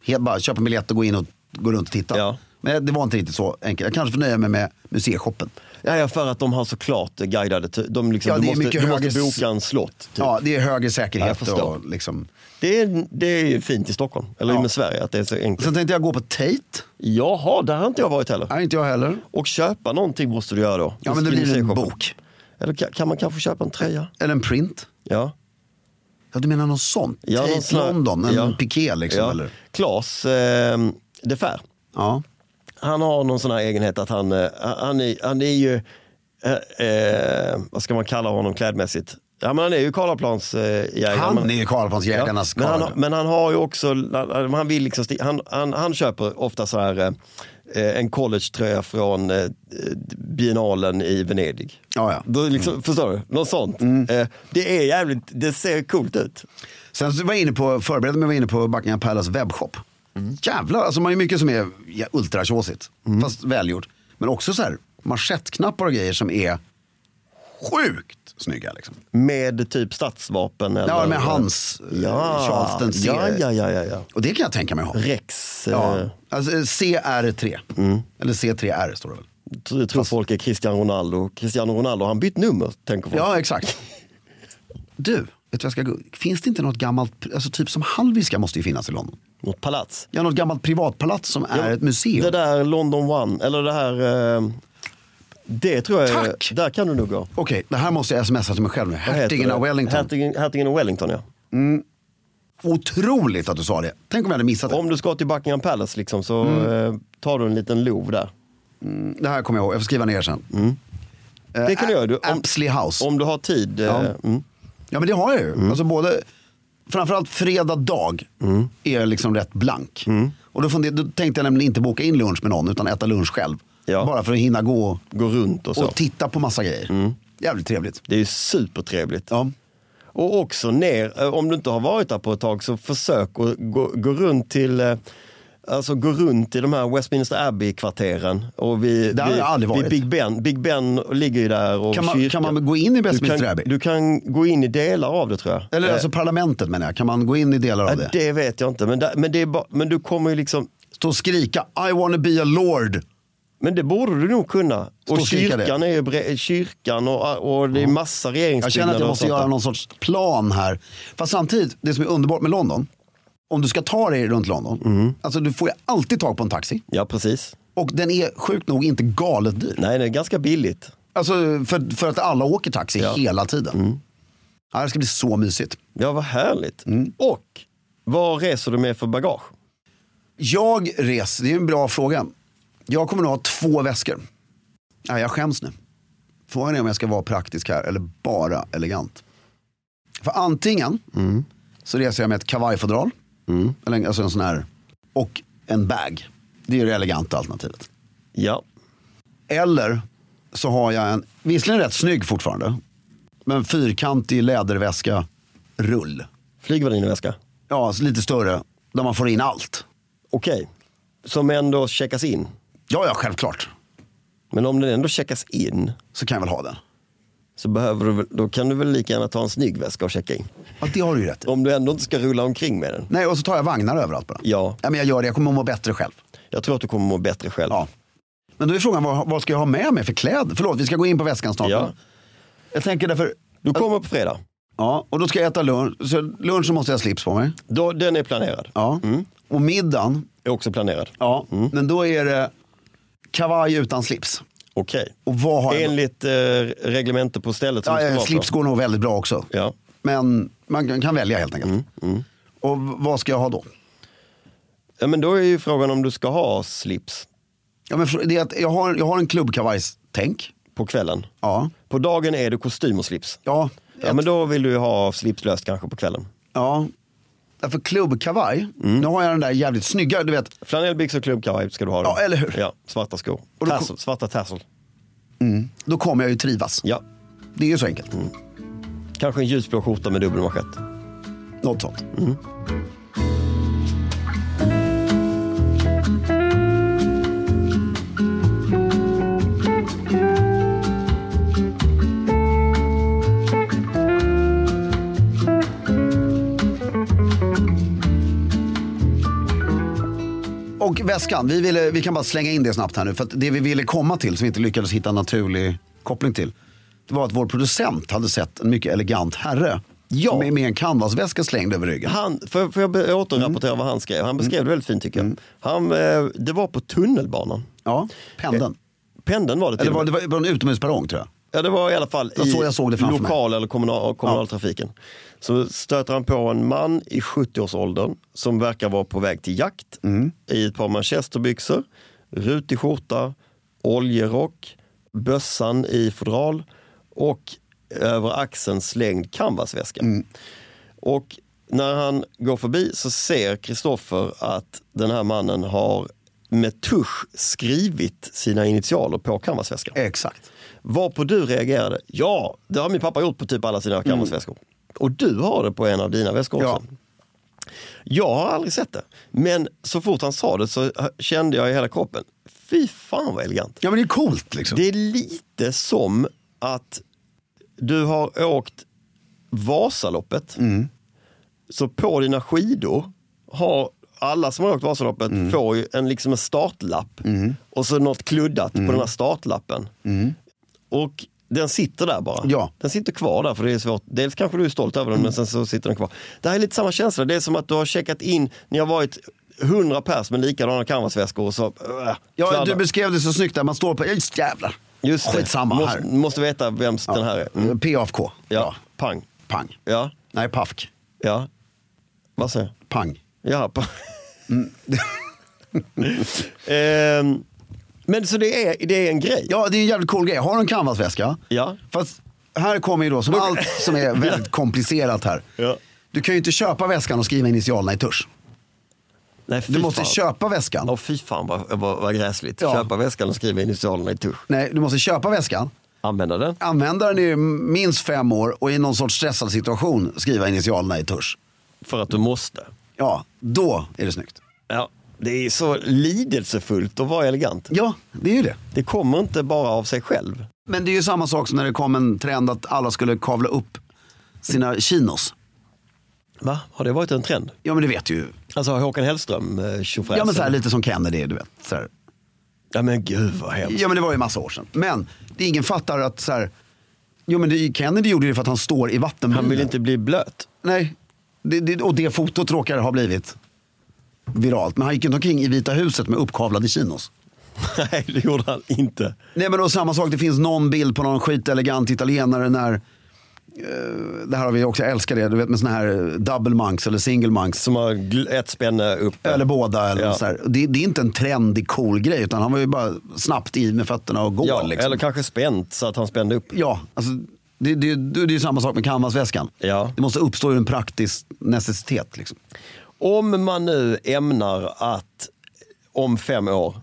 Speaker 1: helt bara köpa en biljett och gå in och gå runt och titta.
Speaker 2: Ja.
Speaker 1: Men det var inte riktigt så enkelt. Jag kanske får nöja mig med museishoppen.
Speaker 2: Ja, ja, för att de har såklart guidade. tu- De liksom,
Speaker 1: Ja, det
Speaker 2: du
Speaker 1: är
Speaker 2: måste,
Speaker 1: mycket
Speaker 2: du måste
Speaker 1: högre s-
Speaker 2: boka en slott. Typ.
Speaker 1: Ja, det är högre
Speaker 2: Ja,
Speaker 1: säkerhet
Speaker 2: jag förstår.
Speaker 1: och liksom.
Speaker 2: Det, är, det är ju fint i Stockholm, eller
Speaker 1: Ja.
Speaker 2: med Sverige, att det är så enkelt.
Speaker 1: Sen tänkte jag gå på Tate.
Speaker 2: Jaha, där har inte jag varit heller.
Speaker 1: Nej, inte jag heller.
Speaker 2: Och köpa någonting måste du göra då.
Speaker 1: Ja, men det blir en
Speaker 2: Museishoppen.
Speaker 1: bok.
Speaker 2: Eller ka- kan man kanske köpa en tröja?
Speaker 1: Eller en print.
Speaker 2: Ja.
Speaker 1: Ja, du menar något sånt?
Speaker 2: ja någon
Speaker 1: Tate
Speaker 2: sån här-
Speaker 1: London, en
Speaker 2: ja.
Speaker 1: piké liksom.
Speaker 2: Ja.
Speaker 1: Eller?
Speaker 2: Klas eh, de Fer.
Speaker 1: Ja.
Speaker 2: han har någon sån här egenhet att han, eh, han, är, han är ju, eh, eh, vad ska man kalla honom klädmässigt? Ja, men han är ju Karlaplansjägare. Eh, jägare.
Speaker 1: Han
Speaker 2: Men-
Speaker 1: är ju Karlaplansjägarnas
Speaker 2: men, han,
Speaker 1: Karlaplan.
Speaker 2: har- men han har ju också, han, vill liksom, sti- han, han, han köper ofta så här, eh, eh, en collegetröja från eh, biennalen i Venedig.
Speaker 1: Ja, ja.
Speaker 2: Då liksom, Förstår du? Något sånt.
Speaker 1: Mm.
Speaker 2: Eh, det är jävligt, det ser coolt ut.
Speaker 1: Sen så var jag inne på, förberedde mig var inne på Buckingham Palace webbshop. Jävlar, alltså man har ju mycket som är ja, ultratjåsigt.
Speaker 2: Mm.
Speaker 1: Fast välgjort. Men också så här manschettknappar och grejer som är sjukt snygga. Liksom.
Speaker 2: Med typ statsvapen. Eller,
Speaker 1: Ja, med hans eh, Charles den C.
Speaker 2: ja, ja, ja, ja, ja.
Speaker 1: Och det kan jag tänka mig ha.
Speaker 2: Rex.
Speaker 1: Ja,
Speaker 2: eh,
Speaker 1: alltså eh, CR3.
Speaker 2: Mm.
Speaker 1: Eller C3R står det väl.
Speaker 2: tror, tror folk är Cristiano Ronaldo. Cristiano Ronaldo, han bytt nummer, tänker folk.
Speaker 1: Ja, exakt. Du, vet du vad jag ska gå? Finns det inte något gammalt, alltså typ som Hallwylska måste ju finnas i London.
Speaker 2: Något palats.
Speaker 1: Ja, något gammalt privatpalats som är ett museum.
Speaker 2: Det där London One, eller det här... eh, Det tror jag, är-
Speaker 1: Tack!
Speaker 2: där kan du nog gå.
Speaker 1: Okej, det här måste jag smsa till mig själv nu.
Speaker 2: Vad heter
Speaker 1: Hertigen
Speaker 2: det?
Speaker 1: av Wellington.
Speaker 2: Hertigen, Hertigen av Wellington, ja.
Speaker 1: Otroligt att du sa det. Tänk om jag hade missat det.
Speaker 2: Om du ska till Buckingham Palace liksom, så
Speaker 1: Mm.
Speaker 2: eh, tar du en liten lov där.
Speaker 1: Det här kommer jag ihåg, jag får skriva ner sen.
Speaker 2: Det kan du göra. Du, Mm, om,
Speaker 1: Apsley House.
Speaker 2: om du har tid. eh,
Speaker 1: Eh, Ja.
Speaker 2: mm.
Speaker 1: Ja men det har jag ju. Alltså både, framförallt fredag dag
Speaker 2: Mm.
Speaker 1: är jag liksom rätt blank. Och då, funderade, då tänkte jag nämligen inte boka in lunch med någon utan äta lunch själv.
Speaker 2: Ja.
Speaker 1: Bara för att hinna gå
Speaker 2: Gå runt och så. Mm.
Speaker 1: och titta på massa grejer. Jävligt trevligt.
Speaker 2: det är ju supertrevligt.
Speaker 1: Ja.
Speaker 2: Och också ner, eh, om du inte har varit där på ett tag, så försök att gå, gå runt till eh, Alltså gå runt i de här Westminster Abbey-kvarteren. Och vi,
Speaker 1: Där har jag aldrig varit.
Speaker 2: Big Ben. Big Ben ligger ju där. Och
Speaker 1: Kan, man,
Speaker 2: kyrkan.
Speaker 1: kan man gå in i
Speaker 2: du
Speaker 1: Westminster
Speaker 2: kan,
Speaker 1: Abbey?
Speaker 2: Du kan gå in i delar av det tror jag.
Speaker 1: Eller
Speaker 2: Eh,
Speaker 1: alltså parlamentet menar jag. Kan man gå in i delar av
Speaker 2: eh,
Speaker 1: det?
Speaker 2: det vet jag inte. Men, där, men, det är bara, men du kommer ju liksom...
Speaker 1: Stå och skrika I wanna be a lord.
Speaker 2: Men det borde du nog kunna.
Speaker 1: och
Speaker 2: Och
Speaker 1: kika
Speaker 2: kyrkan är ju bre- kyrkan och, och det är massa regeringsbyggnader.
Speaker 1: Jag känner att jag
Speaker 2: och
Speaker 1: måste
Speaker 2: sånt där.
Speaker 1: göra någon sorts plan här. Fast samtidigt, det som är underbart med London. Om du ska ta dig runt London. Alltså du får ju alltid tag på en taxi.
Speaker 2: Ja, precis.
Speaker 1: Och den är sjukt nog inte galet dyr.
Speaker 2: Nej, det är ganska billigt.
Speaker 1: Alltså för, för att alla åker taxi hela tiden. Ja, det ska bli så mysigt. Mm.
Speaker 2: Ja, vad härligt. Och vad reser du med för bagage?
Speaker 1: Jag reser, det är en bra fråga. Jag kommer nog ha två väskor. Ja, jag skäms nu. Frågan är om jag ska vara praktisk här eller bara elegant. För antingen så reser jag med ett kavajfodral. Eller en- alltså en sån här. Och en bag. Det är ju det eleganta alternativet.
Speaker 2: Ja,
Speaker 1: Eller så har jag en, visserligen rätt snygg fortfarande. Men fyrkantig läderväska rull.
Speaker 2: flygvärdinneväska.
Speaker 1: Ja, så lite större. Där man får in allt.
Speaker 2: Okej, som ändå checkas in.
Speaker 1: Ja, ja, självklart.
Speaker 2: Men om den ändå checkas in
Speaker 1: Så kan jag väl ha den.
Speaker 2: så behöver du, väl- då kan du väl lika gärna ta en snygg väska och checka in.
Speaker 1: Ja, det har du ju rätt i.
Speaker 2: Om du ändå inte ska rulla omkring med den.
Speaker 1: Nej, och så tar jag vagnar överallt bara.
Speaker 2: Ja,
Speaker 1: men jag gör det, jag kommer att må bättre själv.
Speaker 2: jag tror att du kommer må bättre själv.
Speaker 1: Ja. Men då är frågan, vad, vad ska jag ha med mig för kläder? Förlåt, vi ska gå in på väskan snart.
Speaker 2: Ja.
Speaker 1: men Jag tänker därför,
Speaker 2: Du kommer på fredag.
Speaker 1: ja, och då ska jag äta lunch. Så lunch så måste jag ha slips på mig.
Speaker 2: Då, den är planerad.
Speaker 1: Ja.
Speaker 2: Mm.
Speaker 1: Och middagen,
Speaker 2: Är också planerad.
Speaker 1: ja,
Speaker 2: Mm.
Speaker 1: men då är det kavaj utan slips.
Speaker 2: Okej.
Speaker 1: Och vad har jag?
Speaker 2: Enligt eh, reglementet på stället som
Speaker 1: Ja,
Speaker 2: du ska
Speaker 1: eh,
Speaker 2: vara
Speaker 1: slips
Speaker 2: på.
Speaker 1: går nog väldigt bra också.
Speaker 2: Ja.
Speaker 1: Men man kan- kan välja helt enkelt.
Speaker 2: Mm,
Speaker 1: Och v- vad ska jag ha då?
Speaker 2: ja, men då är ju frågan om du ska ha slips
Speaker 1: Ja, men fr- det är att jag, har, jag har en klubbkavajstänk.
Speaker 2: på kvällen.
Speaker 1: Ja.
Speaker 2: På dagen är det kostym och slips.
Speaker 1: Ja,
Speaker 2: Ja, men då vill du ju ha slipslöst kanske på kvällen.
Speaker 1: Ja, därför klubbkavaj.
Speaker 2: Mm.
Speaker 1: Nu har jag den där jävligt snygga, du vet.
Speaker 2: Flanellbyxor och klubbkavaj ska du ha. Då.
Speaker 1: Ja, eller hur?
Speaker 2: Ja, svarta skor.
Speaker 1: Och då kom-
Speaker 2: Tassel, svarta tassel.
Speaker 1: Då kommer jag ju trivas.
Speaker 2: Ja, Mm.
Speaker 1: Det är ju så enkelt.
Speaker 2: kanske en ljusblå skjorta med dubbel manschett.
Speaker 1: Något sånt. Och väskan, vi, ville, vi kan bara slänga in det snabbt här nu. För att det vi ville komma till, som vi inte lyckades hitta en naturlig koppling till. Det var att vår producent hade sett en mycket elegant herre.
Speaker 2: Ja.
Speaker 1: Med, med en canvasväska slängd över ryggen.
Speaker 2: Han, får, får jag be- återrapportera
Speaker 1: Mm.
Speaker 2: vad han skrev? Han beskrev det väldigt fint tycker jag. Han, eh, det var på tunnelbanan.
Speaker 1: Ja, pendeln.
Speaker 2: Pendeln var det Eh, till
Speaker 1: Eller
Speaker 2: och
Speaker 1: var
Speaker 2: med.
Speaker 1: det var en utomhusperrong tror jag.
Speaker 2: Ja, det var i alla fall
Speaker 1: var
Speaker 2: i
Speaker 1: så jag såg det framför mig.
Speaker 2: lokal eller kommunal, kommunaltrafiken. Så stöter han på en man i 70-årsåldern som verkar vara på väg till jakt
Speaker 1: Mm.
Speaker 2: i ett par manchesterbyxor, rutig skjorta, oljerock, bössan i fodral och över axeln slängd canvasväska.
Speaker 1: Mm.
Speaker 2: Och när han går förbi så ser Kristoffer att den här mannen har med tusch skrivit sina initialer på canvasväskan.
Speaker 1: Exakt.
Speaker 2: Varpå du reagerade, ja det har min pappa gjort på typ alla sina canvasväskor. Och du har det på en av dina väskor också.
Speaker 1: Ja.
Speaker 2: Jag har aldrig sett det. Men så fort han sa det så kände jag i hela kroppen, fy fan vad elegant.
Speaker 1: Ja men det är coolt liksom.
Speaker 2: Det är lite som att du har åkt Vasaloppet.
Speaker 1: Mm.
Speaker 2: Så på dina skidor har alla som har åkt Vasaloppet
Speaker 1: Mm.
Speaker 2: får ju en, liksom en startlapp och så något kluddat
Speaker 1: Mm.
Speaker 2: på den här startlappen. Och den sitter där bara.
Speaker 1: Ja. Mm.
Speaker 2: Den sitter kvar där för det är svårt. Dels kanske du är stolt över den men sen så sitter den kvar. Det här är lite samma känsla. Det är som att du har checkat in, ni har varit 100 pers med likadana canvasväskor och så... äh,
Speaker 1: Ja, du
Speaker 2: kladdar.
Speaker 1: beskrev det så snyggt där man står på, just jävlar.
Speaker 2: Just det.
Speaker 1: Skitsamma
Speaker 2: måste,
Speaker 1: här.
Speaker 2: måste veta vem den här är. Mm.
Speaker 1: PAFK.
Speaker 2: Ja. Pang.
Speaker 1: Pang.
Speaker 2: Ja.
Speaker 1: Nej, PAFK.
Speaker 2: ja. Vad säger jag?
Speaker 1: Pang.
Speaker 2: Ja. på-
Speaker 1: Mm.
Speaker 2: Ehm, men så det är, det är en grej?
Speaker 1: Ja, det är en jävligt cool grej. Har du en canvasväska?
Speaker 2: Ja.
Speaker 1: Fast här kommer ju då, som allt som är väldigt komplicerat här.
Speaker 2: Ja.
Speaker 1: Du kan ju inte köpa väskan och skriva initialerna i tusch.
Speaker 2: Nej, fy
Speaker 1: Du måste
Speaker 2: fan.
Speaker 1: köpa väskan.
Speaker 2: Ja, fy fan vad, vad, vad gräsligt.
Speaker 1: Ja.
Speaker 2: Köpa väskan och skriva initialerna i tusch.
Speaker 1: Nej, du måste köpa väskan.
Speaker 2: Använda den.
Speaker 1: Använda den i minst fem år och i någon sorts stressad situation skriva initialerna i tusch.
Speaker 2: För att du måste.
Speaker 1: Ja, då är det snyggt.
Speaker 2: Ja, det är så lidelsefullt att vara elegant.
Speaker 1: Ja, det är ju det.
Speaker 2: Det kommer inte bara av sig själv.
Speaker 1: Men det är ju samma sak som när det kom en trend att alla skulle kavla upp sina chinos.
Speaker 2: Va? Har det varit en trend?
Speaker 1: Ja, men det vet ju.
Speaker 2: Alltså har Håkan Hellström eh, tjofräsen?
Speaker 1: Ja, men så här, lite som Kennedy, du vet. Så här.
Speaker 2: Ja, men gud vad hemskt.
Speaker 1: Ja men det var ju massa år sedan. Men det är ingen fattar att så här, jo men det, Kennedy gjorde det för att han står i vattenbilen.
Speaker 2: Han vill inte bli blöt.
Speaker 1: Nej, det, det, och det fotot råkar ha blivit viralt. Men han gick inte omkring i Vita huset med uppkavlade chinos.
Speaker 2: Nej, det gjorde han inte.
Speaker 1: Nej men och samma sak, det finns någon bild på någon skitelegant italienare när eh, det här har vi också, jag älskar det, du vet med såna här eh, double monks eller single monks.
Speaker 2: Som har gl- ett spänne uppe.
Speaker 1: Eller båda. Eller
Speaker 2: Ja.
Speaker 1: så här. Det, det är inte en trendig cool grej utan han var ju bara snabbt i med fötterna och går.
Speaker 2: ja,
Speaker 1: liksom.
Speaker 2: eller kanske spänt så att han spände upp.
Speaker 1: Ja, alltså, det, det, det, det är ju samma sak med canvasväskan.
Speaker 2: Ja.
Speaker 1: Det måste uppstå ur en praktisk necessitet. Liksom.
Speaker 2: Om man nu ämnar att om fem år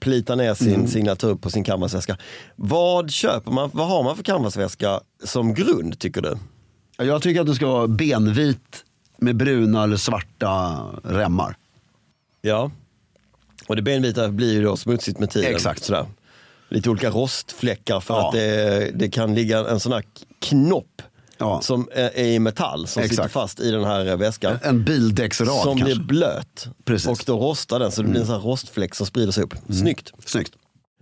Speaker 2: plita ner sin
Speaker 1: Mm.
Speaker 2: signatur på sin canvasväska. Vad köper man? Vad har man för canvasväska som grund tycker du?
Speaker 1: Ja, Jag tycker att du ska vara benvit med bruna eller svarta remmar.
Speaker 2: Ja. Och det benvita blir ju då smutsigt med tiden.
Speaker 1: Exakt.
Speaker 2: Sådär. Lite olika rostfläckar för
Speaker 1: Ja.
Speaker 2: att det, det kan ligga en sån här knopp
Speaker 1: Ja.
Speaker 2: som är är i metall som sitter
Speaker 1: Exakt.
Speaker 2: fast i den här eh, väskan.
Speaker 1: En bildäcksrad
Speaker 2: som
Speaker 1: kanske.
Speaker 2: blir blöt.
Speaker 1: Precis. Mm.
Speaker 2: Och då rostar den så det blir en sån här rostfläck som sprider sig upp. Snyggt.
Speaker 1: Snyggt.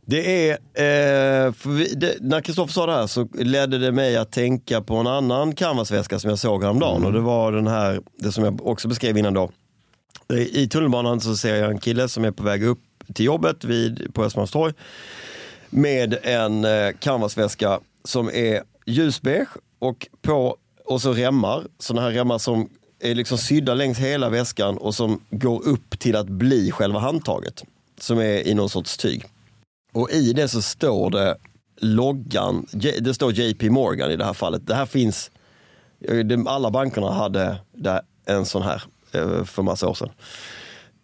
Speaker 2: Det är, eh, för vi, det, när Kristoffer sa det här så ledde det mig att tänka på en annan canvasväska som jag såg häromdagen. Och det var den här, det som jag också beskrev innan då. Eh, I tunnelbanan så ser jag en kille som är på väg upp till jobbet vid, på Östermalmstorg. Med en eh, canvasväska som är ljusbeige och, på, och så remmar. Sådana här remmar som är liksom sydda längs hela väskan och som går upp till att bli själva handtaget. Som är i någon sorts tyg. Och i det så står det loggan, J- det står JP Morgan i det här fallet. Det här finns, eh, de- alla bankerna hade där en sån här eh, för massa år sedan.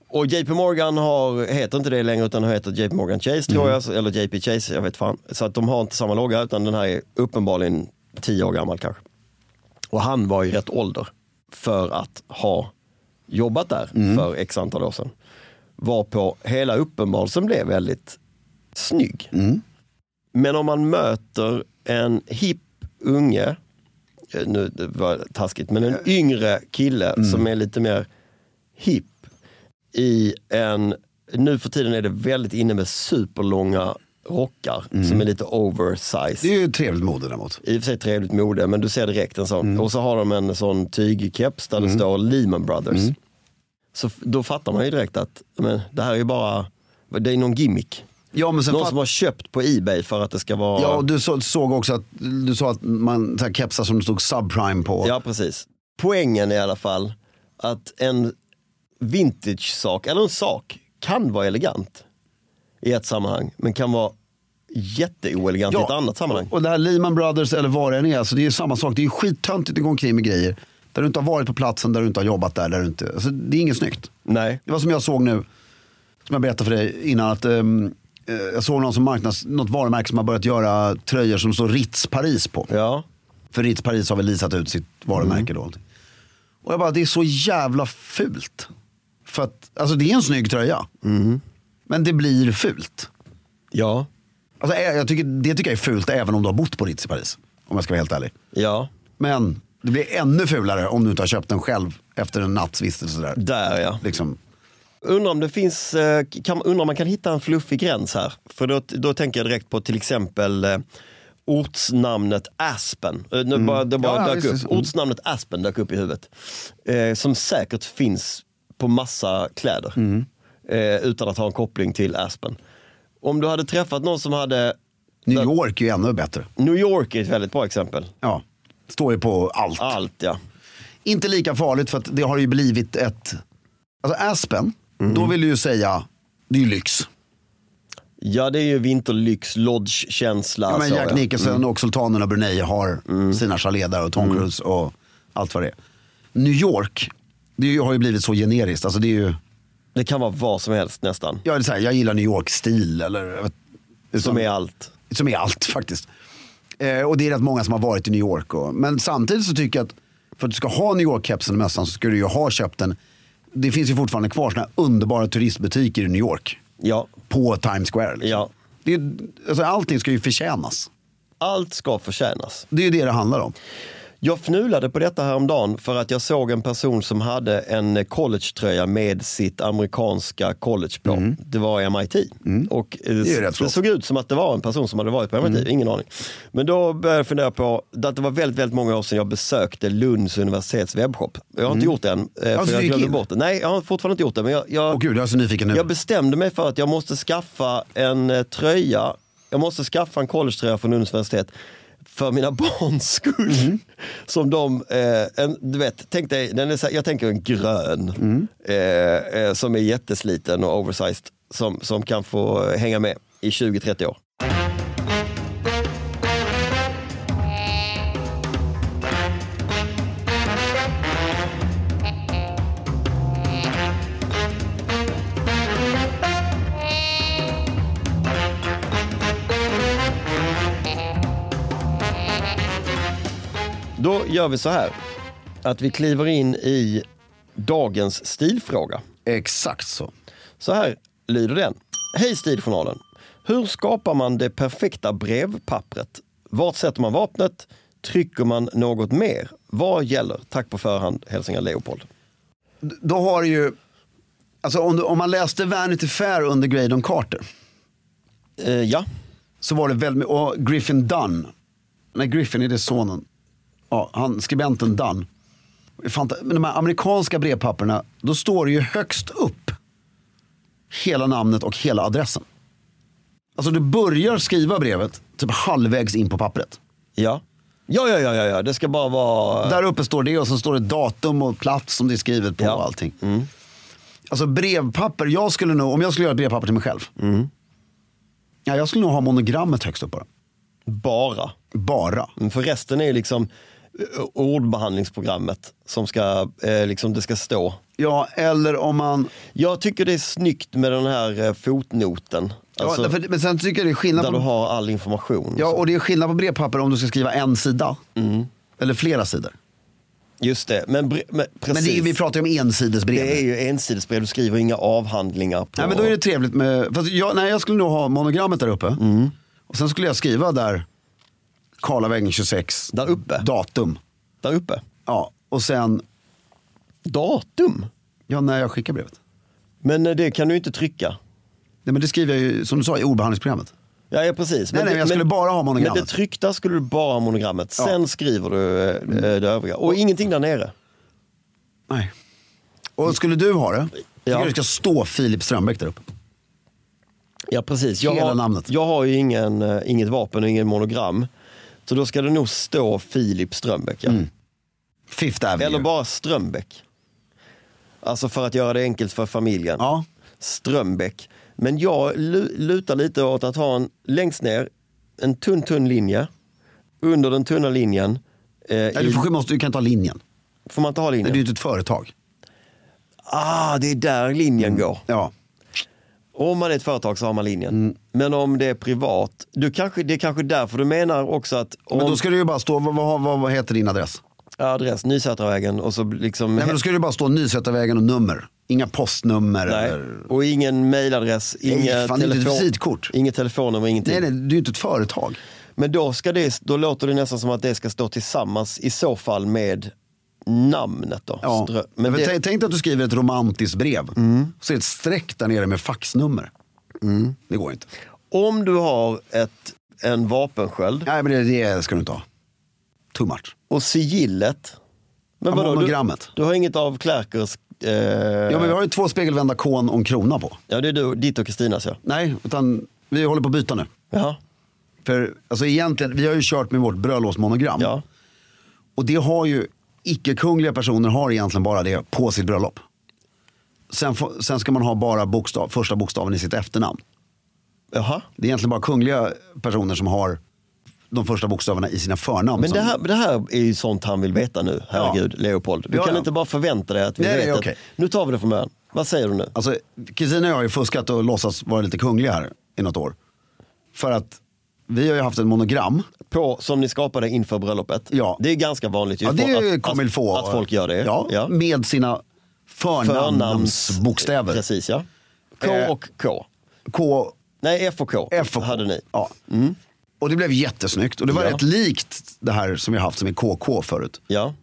Speaker 2: Och JP Morgan har, heter inte det längre utan heter JP Morgan Chase tror jag, eller JP Chase, jag vet fan. Så att de har inte samma logga utan den här är uppenbarligen tio år gammal kanske. Och han var i rätt ålder för att ha jobbat där för x antal år sedan. Varpå hela uppenbarelsen blev väldigt snygg. Men om man möter en hipp unge, eh, nu det var det taskigt, men en yngre kille som är lite mer hipp i en, nu för tiden är det väldigt inne med superlånga rockar som är lite oversized
Speaker 1: Det är ju ett trevligt mode däremot.
Speaker 2: i och för sig trevligt mode, men du ser direkt en sån.
Speaker 1: Mm.
Speaker 2: Och så har de en sån tygkeps där det står Lehman Brothers.
Speaker 1: Mm.
Speaker 2: Så f- då fattar man ju direkt att men, det här är ju bara, det är någon gimmick.
Speaker 1: Ja, men sen
Speaker 2: Någon
Speaker 1: fatt-
Speaker 2: som har köpt på Ebay för att det ska vara...
Speaker 1: ja, och du så, såg också att du sa att man så här, kepsar som det stod subprime på.
Speaker 2: Ja, precis. Poängen är i alla fall att en vintage-sak, eller en sak, kan vara elegant i ett sammanhang, men kan vara jätteoelegant i ett annat sammanhang.
Speaker 1: Och det här Lehman Brothers eller vad det än är, alltså det är ju samma sak. Det är ju skittöntigt att gå omkring med grejer där du inte har varit på platsen, där du inte har jobbat där, där du inte... Alltså, det är inget snyggt.
Speaker 2: Nej.
Speaker 1: Det var som jag såg nu, som jag berättade för dig innan. Att, ehm, eh, jag såg någon som marknads, något varumärke som har börjat göra tröjor som står Ritz Paris på.
Speaker 2: Ja.
Speaker 1: För Ritz Paris har väl lisat ut sitt varumärke då. Och jag bara, det är så jävla fult. För att, alltså det är en snygg tröja. Men det blir fult.
Speaker 2: Ja.
Speaker 1: Alltså, ä- jag tycker, det tycker jag är fult även om du har bott på Ritz i Paris. Om jag ska vara helt ärlig.
Speaker 2: Ja.
Speaker 1: Men det blir ännu fulare om du inte har köpt den själv efter en natts vistelse där.
Speaker 2: Där ja.
Speaker 1: Liksom,
Speaker 2: Undrar om det finns, eh, kan, undrar om man kan hitta en fluffig gräns här. För då, då tänker jag direkt på till exempel eh, ortsnamnet Aspen. Eh, Nu bara, det bara
Speaker 1: Mm. Ja, ja,
Speaker 2: dök
Speaker 1: visst,
Speaker 2: upp.
Speaker 1: visst. Mm.
Speaker 2: Ortsnamnet Aspen dök upp i huvudet. Eh, som säkert finns på massa kläder.
Speaker 1: Mm.
Speaker 2: Eh, utan att ha en koppling till Aspen. Om du hade träffat någon som hade,
Speaker 1: New York är ju ännu bättre.
Speaker 2: New York är ett väldigt bra exempel.
Speaker 1: Ja, står ju på allt.
Speaker 2: Allt ja.
Speaker 1: Inte lika farligt för att det har ju blivit ett... Alltså Aspen,
Speaker 2: Mm.
Speaker 1: då vill du ju säga, det är ju lyx.
Speaker 2: Ja, det är ju vinterlyx, lodge-känsla.
Speaker 1: Ja, men
Speaker 2: så, Mm.
Speaker 1: Jack
Speaker 2: ja.
Speaker 1: Nicholson och Sultanen av Brunei har
Speaker 2: Mm.
Speaker 1: sina chalé där och Tom Cruise och allt vad det är. New York, det är ju- har ju blivit så generiskt. Alltså det är ju,
Speaker 2: Det kan vara vad som helst nästan.
Speaker 1: jag, är så här, jag gillar New York-stil eller jag vet-
Speaker 2: Som är allt.
Speaker 1: som är allt faktiskt. Eh, och det är rätt många som har varit i New York. Och, men samtidigt så tycker jag att för att du ska ha New York-kepsen och mössan så ska du ju ha köpt den. Det finns ju fortfarande kvar såna här underbara turistbutiker i New York.
Speaker 2: Ja,
Speaker 1: På Times Square. Liksom.
Speaker 2: Ja.
Speaker 1: Det är, alltså, allting ska ju förtjänas.
Speaker 2: allt ska förtjänas.
Speaker 1: Det är ju det det handlar om.
Speaker 2: Jag fnulade på detta häromdagen för att jag såg en person som hade en collegetröja med sitt amerikanska college på.
Speaker 1: Mm.
Speaker 2: Det var MIT. Och eh,
Speaker 1: ju
Speaker 2: det,
Speaker 1: rätt Mm. flott.
Speaker 2: såg ut som att det var en person som hade varit på MIT, ingen aning. Men då började jag fundera på, att det var väldigt, väldigt många år sedan jag besökte Lunds universitets webbshop. Jag har inte gjort det än, eh,
Speaker 1: Mm. du
Speaker 2: för jag
Speaker 1: gick
Speaker 2: glömde
Speaker 1: in?
Speaker 2: bort det. Nej, jag har fortfarande inte gjort det. Men jag, jag,
Speaker 1: Åh gud, jag är så nyfiken nu.
Speaker 2: jag bestämde mig för att jag måste skaffa en eh, tröja. Jag måste skaffa en collegetröja från universitet för mina barns skull. Som de, eh, en, du vet, tänk dig, den är, så här- jag tänker en grön eh, eh, som är jättesliten och oversized som, som kan få eh, hänga med i 20-30 år. Då gör vi så här att vi kliver in i dagens stilfråga.
Speaker 1: Exakt så.
Speaker 2: Så här lyder den. Hej Stiljournalen! Hur skapar man det perfekta brevpappret? Vart sätter man vapnet? Trycker man något mer? Vad gäller? Tack på förhand, hälsningar Leopold.
Speaker 1: Då har du ju, alltså om, du, om man läste Vanity Fair under Graydon Carter.
Speaker 2: Eh, ja,
Speaker 1: så var det väldigt och Griffin Dunn. Nej, Griffin, är det sonen? Ja, han, skribenten Dunn. Fanta, men de här amerikanska brevpapperna, då står det ju högst upp hela namnet och hela adressen. Alltså du börjar skriva brevet typ halvvägs in på pappret.
Speaker 2: ja. Ja, ja, ja, ja, ja. det ska bara vara...
Speaker 1: Där uppe står det och så står det datum och plats som det är skrivet på
Speaker 2: Ja.
Speaker 1: och allting. Alltså brevpapper, jag skulle nog, om jag skulle göra ett brevpapper till mig själv. Ja, jag skulle nog ha monogrammet högst upp bara.
Speaker 2: Bara.
Speaker 1: Bara.
Speaker 2: Mm, För resten är ju liksom eh, ordbehandlingsprogrammet som ska, eh, liksom det ska stå.
Speaker 1: Ja, eller om man...
Speaker 2: Jag tycker det är snyggt med den här eh, fotnoten. Alltså,
Speaker 1: ja, därför, men sen tycker jag det är skillnad
Speaker 2: där du
Speaker 1: på...
Speaker 2: har Mm. all information.
Speaker 1: Ja, och det är skillnad på brevpapper om du ska skriva en sida. Eller flera sidor.
Speaker 2: Just det, men, bre- men precis.
Speaker 1: Men det är, ju- vi pratar ju om ensidesbrev.
Speaker 2: Det är ju ensidesbrev, du skriver inga avhandlingar. På...
Speaker 1: Nej, men då är det trevligt med... Fast jag, nej, jag skulle nog ha monogrammet där uppe.
Speaker 2: Mm.
Speaker 1: Och sen skulle jag skriva där Karlavägen 26.
Speaker 2: Där uppe?
Speaker 1: Datum.
Speaker 2: Där uppe.
Speaker 1: Ja, och sen...
Speaker 2: Datum?
Speaker 1: Ja, när jag skickar brevet.
Speaker 2: Men eh, det kan du ju inte trycka.
Speaker 1: Nej, men det skriver jag ju, som du sa, i ordbehandlingsprogrammet.
Speaker 2: Ja, ja precis.
Speaker 1: Nej, nej, men jag skulle bara ha monogrammet.
Speaker 2: Men det tryckta skulle du bara ha monogrammet.
Speaker 1: Ja.
Speaker 2: Sen skriver du eh, det övriga. Och ingenting där nere.
Speaker 1: Nej. Och skulle du ha det, tycker
Speaker 2: Ja.
Speaker 1: jag det ska stå Filip Strömbäck där uppe.
Speaker 2: Ja, precis. Jag
Speaker 1: Hela
Speaker 2: har,
Speaker 1: namnet.
Speaker 2: Jag har ju ingen, eh, inget vapen och ingen monogram. Så då ska det nog stå Filip Strömbäck. Ja.
Speaker 1: Mm. Fifth Avenue.
Speaker 2: Eller bara Strömbäck. Alltså för att göra det enkelt för familjen.
Speaker 1: Ja.
Speaker 2: Strömbäck. Men jag lu- lutar lite åt att ha en längst ner, en tunn tunn linje. Under den tunna linjen. Eh,
Speaker 1: Nej, du,
Speaker 2: i,
Speaker 1: får, måste, du kan ta linjen.
Speaker 2: får man inte ha
Speaker 1: Nej,
Speaker 2: linjen?
Speaker 1: det är ju inte ett företag.
Speaker 2: Ah, det är där linjen
Speaker 1: Mm.
Speaker 2: går.
Speaker 1: Ja.
Speaker 2: Om man är ett företag så har man linjen.
Speaker 1: Mm.
Speaker 2: Men om det är privat, du kanske, det är kanske därför du menar också att om
Speaker 1: Men då ska det ju bara stå, vad, vad, vad, vad heter din adress?
Speaker 2: adress, Nysätravägen och så liksom...
Speaker 1: Nej men då ska det ju bara stå Nysätarvägen och nummer. Inga postnummer
Speaker 2: Nej.
Speaker 1: eller...
Speaker 2: Och ingen mejladress, inget
Speaker 1: fan, inte ett
Speaker 2: telefon,
Speaker 1: visitkort.
Speaker 2: inget telefonnummer, ingenting.
Speaker 1: Nej, nej, det är ju inte ett företag.
Speaker 2: Men då, ska det, då låter det nästan som att det ska stå tillsammans i så fall med namnet. Då.
Speaker 1: Ja.
Speaker 2: Strö-
Speaker 1: Men
Speaker 2: men Mm. det,
Speaker 1: tänk, tänk dig att du skriver ett romantiskt brev. Så är det ett streck där nere med faxnummer.
Speaker 2: Mm.
Speaker 1: Det går inte.
Speaker 2: om du har ett, en vapensköld
Speaker 1: Nej men det, det ska du inte ha. Too much.
Speaker 2: och sigillet. Men
Speaker 1: Ja, monogrammet.
Speaker 2: Du, du har inget av Klerkers... Eh,
Speaker 1: Ja
Speaker 2: ja,
Speaker 1: men vi har ju två spegelvända kon och en krona på.
Speaker 2: det är du, ditt och Kristinas ja.
Speaker 1: Nej, utan vi håller på att byta nu.
Speaker 2: Ja,
Speaker 1: För alltså egentligen, vi har ju kört med vårt bröllopsmonogram.
Speaker 2: ja.
Speaker 1: Och det har ju icke-kungliga personer har egentligen bara det på sitt bröllop. Sen, får- sen ska man ha bara bokstav, första bokstaven i sitt efternamn.
Speaker 2: Jaha.
Speaker 1: Det är egentligen bara kungliga personer som har de första bokstäverna i sina förnamn.
Speaker 2: Men
Speaker 1: som,
Speaker 2: det här, det här är ju sånt han vill veta nu, herregud, Leopold. Du
Speaker 1: Ja,
Speaker 2: kan
Speaker 1: ja.
Speaker 2: inte bara förvänta dig att vi
Speaker 1: Nej,
Speaker 2: vet
Speaker 1: nej,
Speaker 2: det.
Speaker 1: okej.
Speaker 2: Nu tar vi det från början. Vad säger du nu?
Speaker 1: Alltså, Kristina och jag har ju fuskat och låtsats vara lite kungliga här i något år. För att vi har ju haft ett monogram.
Speaker 2: På, som ni skapade inför bröllopet.
Speaker 1: Ja.
Speaker 2: Det är ganska vanligt ju
Speaker 1: Ja, det är ju
Speaker 2: att,
Speaker 1: comme il
Speaker 2: att,
Speaker 1: faut.
Speaker 2: att folk gör det.
Speaker 1: Ja, Med sina förnamnsbokstäver.
Speaker 2: Precis ja. K
Speaker 1: Eh.
Speaker 2: och K.
Speaker 1: K,
Speaker 2: Nej, F och K,
Speaker 1: F och K.
Speaker 2: hade ni.
Speaker 1: Ja. Och det blev jättesnyggt. Och det var
Speaker 2: Ja.
Speaker 1: rätt likt det här som vi har haft som är KK förut.
Speaker 2: Ja.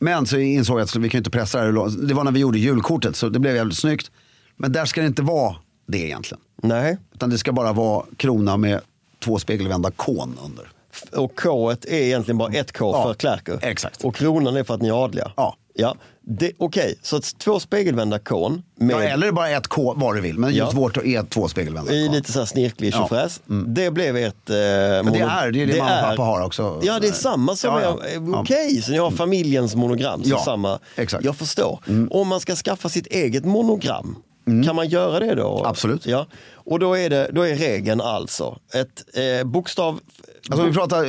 Speaker 1: Men så insåg jag att vi kan ju inte pressa det här. hur långt- Det var när vi gjorde julkortet så det blev jävligt snyggt. Men där ska det inte vara det egentligen.
Speaker 2: Nej.
Speaker 1: Utan det ska bara vara krona med två spegelvända kon under.
Speaker 2: F- Och K är egentligen bara ett K
Speaker 1: Ja,
Speaker 2: för Klärker.
Speaker 1: exakt.
Speaker 2: Och kronan är för att ni är adliga.
Speaker 1: Ja.
Speaker 2: ja. Det- Okej, så att två spegelvända K'n med
Speaker 1: Ja, eller bara ett K vad du vill. Men just
Speaker 2: Ja.
Speaker 1: vårt är två spegelvända
Speaker 2: i
Speaker 1: kon.
Speaker 2: lite så här snirklig
Speaker 1: Ja. Mm.
Speaker 2: tjofräs. Det blev ett... Eh,
Speaker 1: det är det mamma och pappa har också.
Speaker 2: Ja, det är samma som
Speaker 1: Ja, ja.
Speaker 2: jag... eh,
Speaker 1: Ja. Mm.
Speaker 2: Okej, så ni har familjens monogram. Så
Speaker 1: Ja,
Speaker 2: samma.
Speaker 1: exakt. Mm.
Speaker 2: Jag förstår. Om man ska skaffa sitt eget monogram, kan man göra det då?
Speaker 1: Absolut.
Speaker 2: Ja. Och då är, det, då är regeln alltså ett eh, bokstav...
Speaker 1: Alltså om vi pratar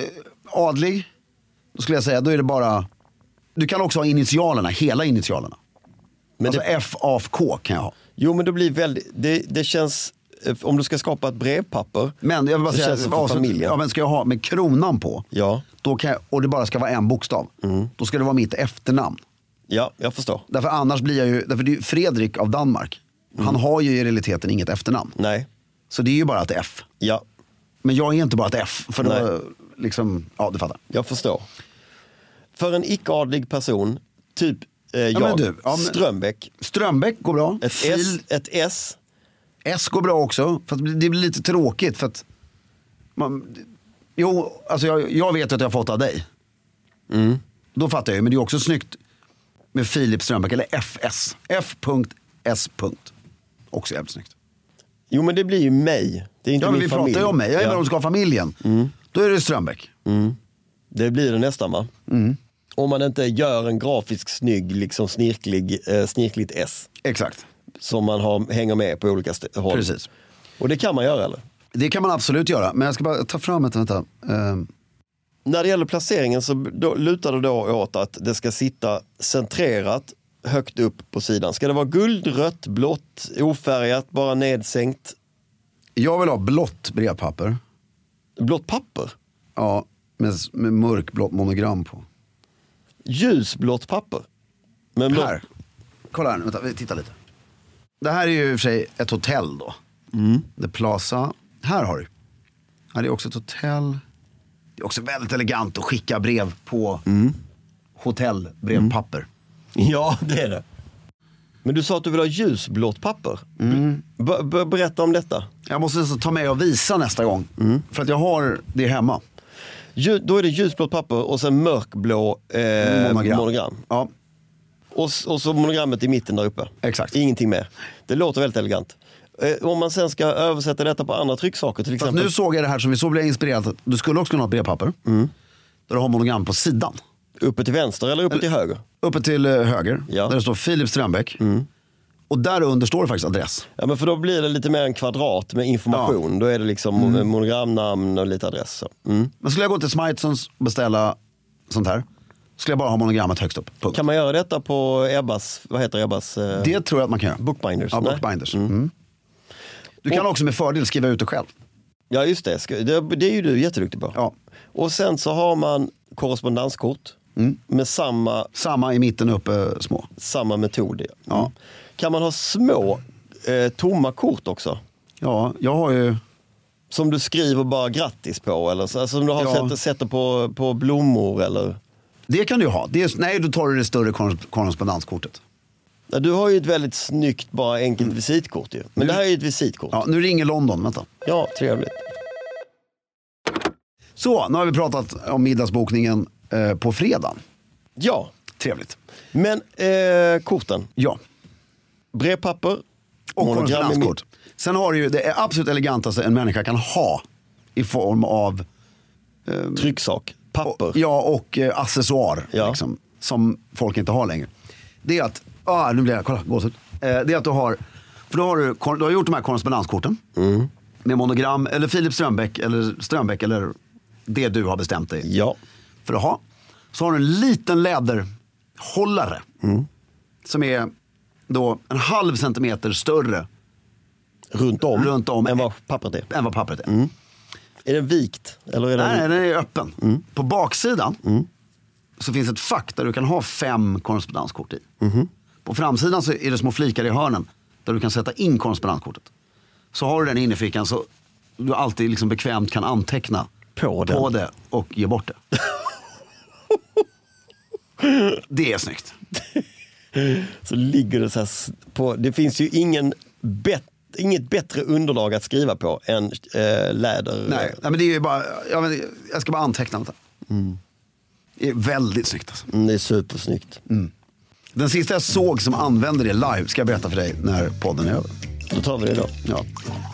Speaker 1: adlig, då skulle jag säga då är det bara... Du kan också ha initialerna, hela initialerna.
Speaker 2: Men
Speaker 1: alltså
Speaker 2: det-
Speaker 1: F, A, F, K kan jag ha.
Speaker 2: Jo, men det blir väldigt... Det, det känns... eh, Om du ska skapa ett brevpapper
Speaker 1: Men jag vill bara
Speaker 2: så
Speaker 1: säga,
Speaker 2: känns det för
Speaker 1: avslut-
Speaker 2: familjen.
Speaker 1: ja, men ska jag ha med kronan på
Speaker 2: ja, Mm.
Speaker 1: då kan jag, och det bara ska vara en bokstav, då ska det vara mitt efternamn.
Speaker 2: ja, jag förstår.
Speaker 1: Därför annars blir jag ju, därför det är ju Fredrik av Danmark.
Speaker 2: Mm.
Speaker 1: Han har ju i realiteten inget efternamn.
Speaker 2: Nej,
Speaker 1: Så det är ju bara ett F.
Speaker 2: ja,
Speaker 1: Men jag är inte bara ett F. För
Speaker 2: Nej.
Speaker 1: då, liksom, ja du fattar.
Speaker 2: Jag förstår. För en icke-adlig person, typ eh, jag,
Speaker 1: men du, ja, men-
Speaker 2: Strömbäck,
Speaker 1: Strömbäck går bra.
Speaker 2: ett S, ett S.
Speaker 1: S går bra också. För att det blir lite tråkigt för att... Man, jo, alltså jag, jag vet att jag har fått av dig.
Speaker 2: Mm.
Speaker 1: Då fattar jag ju, men det är också snyggt med Filip Strömbäck, eller FS. F.S. Också jävligt snyggt.
Speaker 2: Jo men det blir ju mig. Det är inte
Speaker 1: Ja, men
Speaker 2: min
Speaker 1: vi
Speaker 2: familj.
Speaker 1: pratar ju om mig. Jag är bara om
Speaker 2: ja. Mm.
Speaker 1: du ska ha familjen. Då är det Strömbäck.
Speaker 2: Det blir det nästan va?
Speaker 1: Mm.
Speaker 2: Om man inte gör en grafisk snygg, liksom snirklig, eh, snirkligt S.
Speaker 1: Exakt.
Speaker 2: Som man har, hänger med på olika st- håll.
Speaker 1: Precis.
Speaker 2: Och det kan man göra eller?
Speaker 1: Det kan man absolut göra. Men jag ska bara ta fram ett, vänta. Ehm,
Speaker 2: När det gäller placeringen så då, lutar det då åt att det ska sitta centrerat högt upp på sidan. Ska det vara guld, rött, blått, ofärgat, bara nedsänkt?
Speaker 1: jag vill ha blått brevpapper.
Speaker 2: Blått papper?
Speaker 1: Ja, med, med mörkblått monogram på.
Speaker 2: Ljusblått papper? Men blått-
Speaker 1: Här. Kolla här nu, vänta, vi tittar lite. Det här är ju i och för sig ett hotell då.
Speaker 2: Mm.
Speaker 1: The Plaza. Här har du. Här är också ett hotell. Det är också väldigt elegant att skicka brev på
Speaker 2: Mm.
Speaker 1: hotellbrevpapper.
Speaker 2: Ja, det är det. Men du sa att du vill ha ljusblått papper. B- b- berätta om detta.
Speaker 1: Jag måste nästan ta med och visa nästa gång.
Speaker 2: Mm.
Speaker 1: För att jag har det hemma.
Speaker 2: Lju- då är det ljusblått papper och sen mörkblå eh, monogram.
Speaker 1: Ja,
Speaker 2: Och, s- och så monogrammet i mitten där uppe.
Speaker 1: Exakt.
Speaker 2: Ingenting mer. Det låter väldigt elegant. Eh, om man sen ska översätta detta på andra trycksaker till
Speaker 1: Fast
Speaker 2: exempel.
Speaker 1: nu såg jag det här som vi så blev inspirerade. att Du skulle också kunna ha ett brevpapper.
Speaker 2: Mm.
Speaker 1: Där du har monogram på sidan.
Speaker 2: Uppe till vänster eller uppe till höger?
Speaker 1: Uppe till eh, höger.
Speaker 2: Ja. Mm.
Speaker 1: Där det står Filip Strömbäck. Och där under står det faktiskt adress.
Speaker 2: Ja, men för då blir det lite mer en kvadrat med information. Då är det liksom
Speaker 1: Mm.
Speaker 2: mon- monogramnamn och lite adress. Så. Mm.
Speaker 1: Men skulle jag gå till Smithsons och beställa sånt här. Skulle jag bara ha monogrammet högst upp. Punkt.
Speaker 2: Kan man göra detta på Ebbas, vad heter Ebbas? eh,
Speaker 1: Det tror jag att man kan göra.
Speaker 2: Bookbinders,
Speaker 1: Ja,
Speaker 2: nej.
Speaker 1: bookbinders. Mm. Du kan
Speaker 2: Och-
Speaker 1: också med fördel skriva ut det själv.
Speaker 2: Ja, just det. Ska- det. Det är ju du jätteduktig på.
Speaker 1: Ja.
Speaker 2: Och sen så har man korrespondenskort
Speaker 1: Mm.
Speaker 2: med samma,
Speaker 1: Samma i mitten uppe små.
Speaker 2: samma metod. Mm.
Speaker 1: Ja.
Speaker 2: Kan man ha små eh, tomma kort också?
Speaker 1: Ja, jag har ju...
Speaker 2: Som du skriver bara grattis på eller så, alltså, som du har
Speaker 1: Ja.
Speaker 2: sätter, sätter på, på blommor eller?
Speaker 1: Det kan du ju ha. Det är... Nej, då tar du det större korres- korrespondenskortet.
Speaker 2: Ja, du har ju ett väldigt snyggt, bara enkelt visitkort ju. Men det här är ju ett visitkort. Ja,
Speaker 1: Mm. Ja, nu ringer London. Vänta.
Speaker 2: trevligt.
Speaker 1: Så, nu har vi pratat om middagsbokningen eh, på fredagen.
Speaker 2: Ja,
Speaker 1: Trevligt.
Speaker 2: men eh, korten.
Speaker 1: Ja,
Speaker 2: Brevpapper.
Speaker 1: och
Speaker 2: monogram i mitt-
Speaker 1: korrespondenskort. Sen har du ju det absolut elegantaste en människa kan ha i form av
Speaker 2: Trycksak. Papper.
Speaker 1: ja, och eh, accessoar.
Speaker 2: Ja.
Speaker 1: Liksom. som folk inte har längre. Det är att, ah, nu blir jag, kolla, gåshud. Eh, det är att du har, för då har du, kor- du har gjort de här korrespondenskorten.
Speaker 2: Mm.
Speaker 1: Med monogram, eller Filip Strömbäck, eller Strömbäck, eller det du har bestämt dig
Speaker 2: Ja.
Speaker 1: för att ha. Så har du en liten läderhållare.
Speaker 2: Mm.
Speaker 1: Som är då en halv centimeter större
Speaker 2: Runt om,
Speaker 1: Runt om.
Speaker 2: än vad pappret är.
Speaker 1: än vad pappret är.
Speaker 2: Mm. Är den vikt? Eller är den...
Speaker 1: Nej, nej, den är öppen. På baksidan så finns ett fack där du kan ha fem korrespondenskort i. På framsidan så är det små flikar i hörnen där du kan sätta in korrespondenskortet. Så har du den i innerfickan så du alltid liksom bekvämt kan anteckna
Speaker 2: På den.
Speaker 1: på det och ge bort det. det är snyggt.
Speaker 2: så ligger det så här s- på, det finns ju ingen bet, inget bättre underlag att skriva på än eh, läder.
Speaker 1: Nej, nej men det är ju bara, jag, vet, inte, jag ska bara anteckna. Vänta. Det är väldigt snyggt alltså.
Speaker 2: Mm, det är supersnyggt.
Speaker 1: Den sista jag såg som använde det live ska jag berätta för dig när podden är över.
Speaker 2: Då tar vi det då.
Speaker 1: Ja.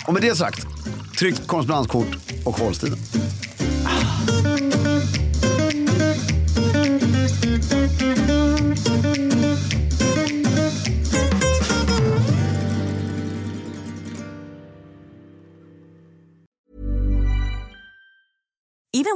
Speaker 1: Och med det sagt, tryck korrespondenskort och håll stilen.
Speaker 4: Even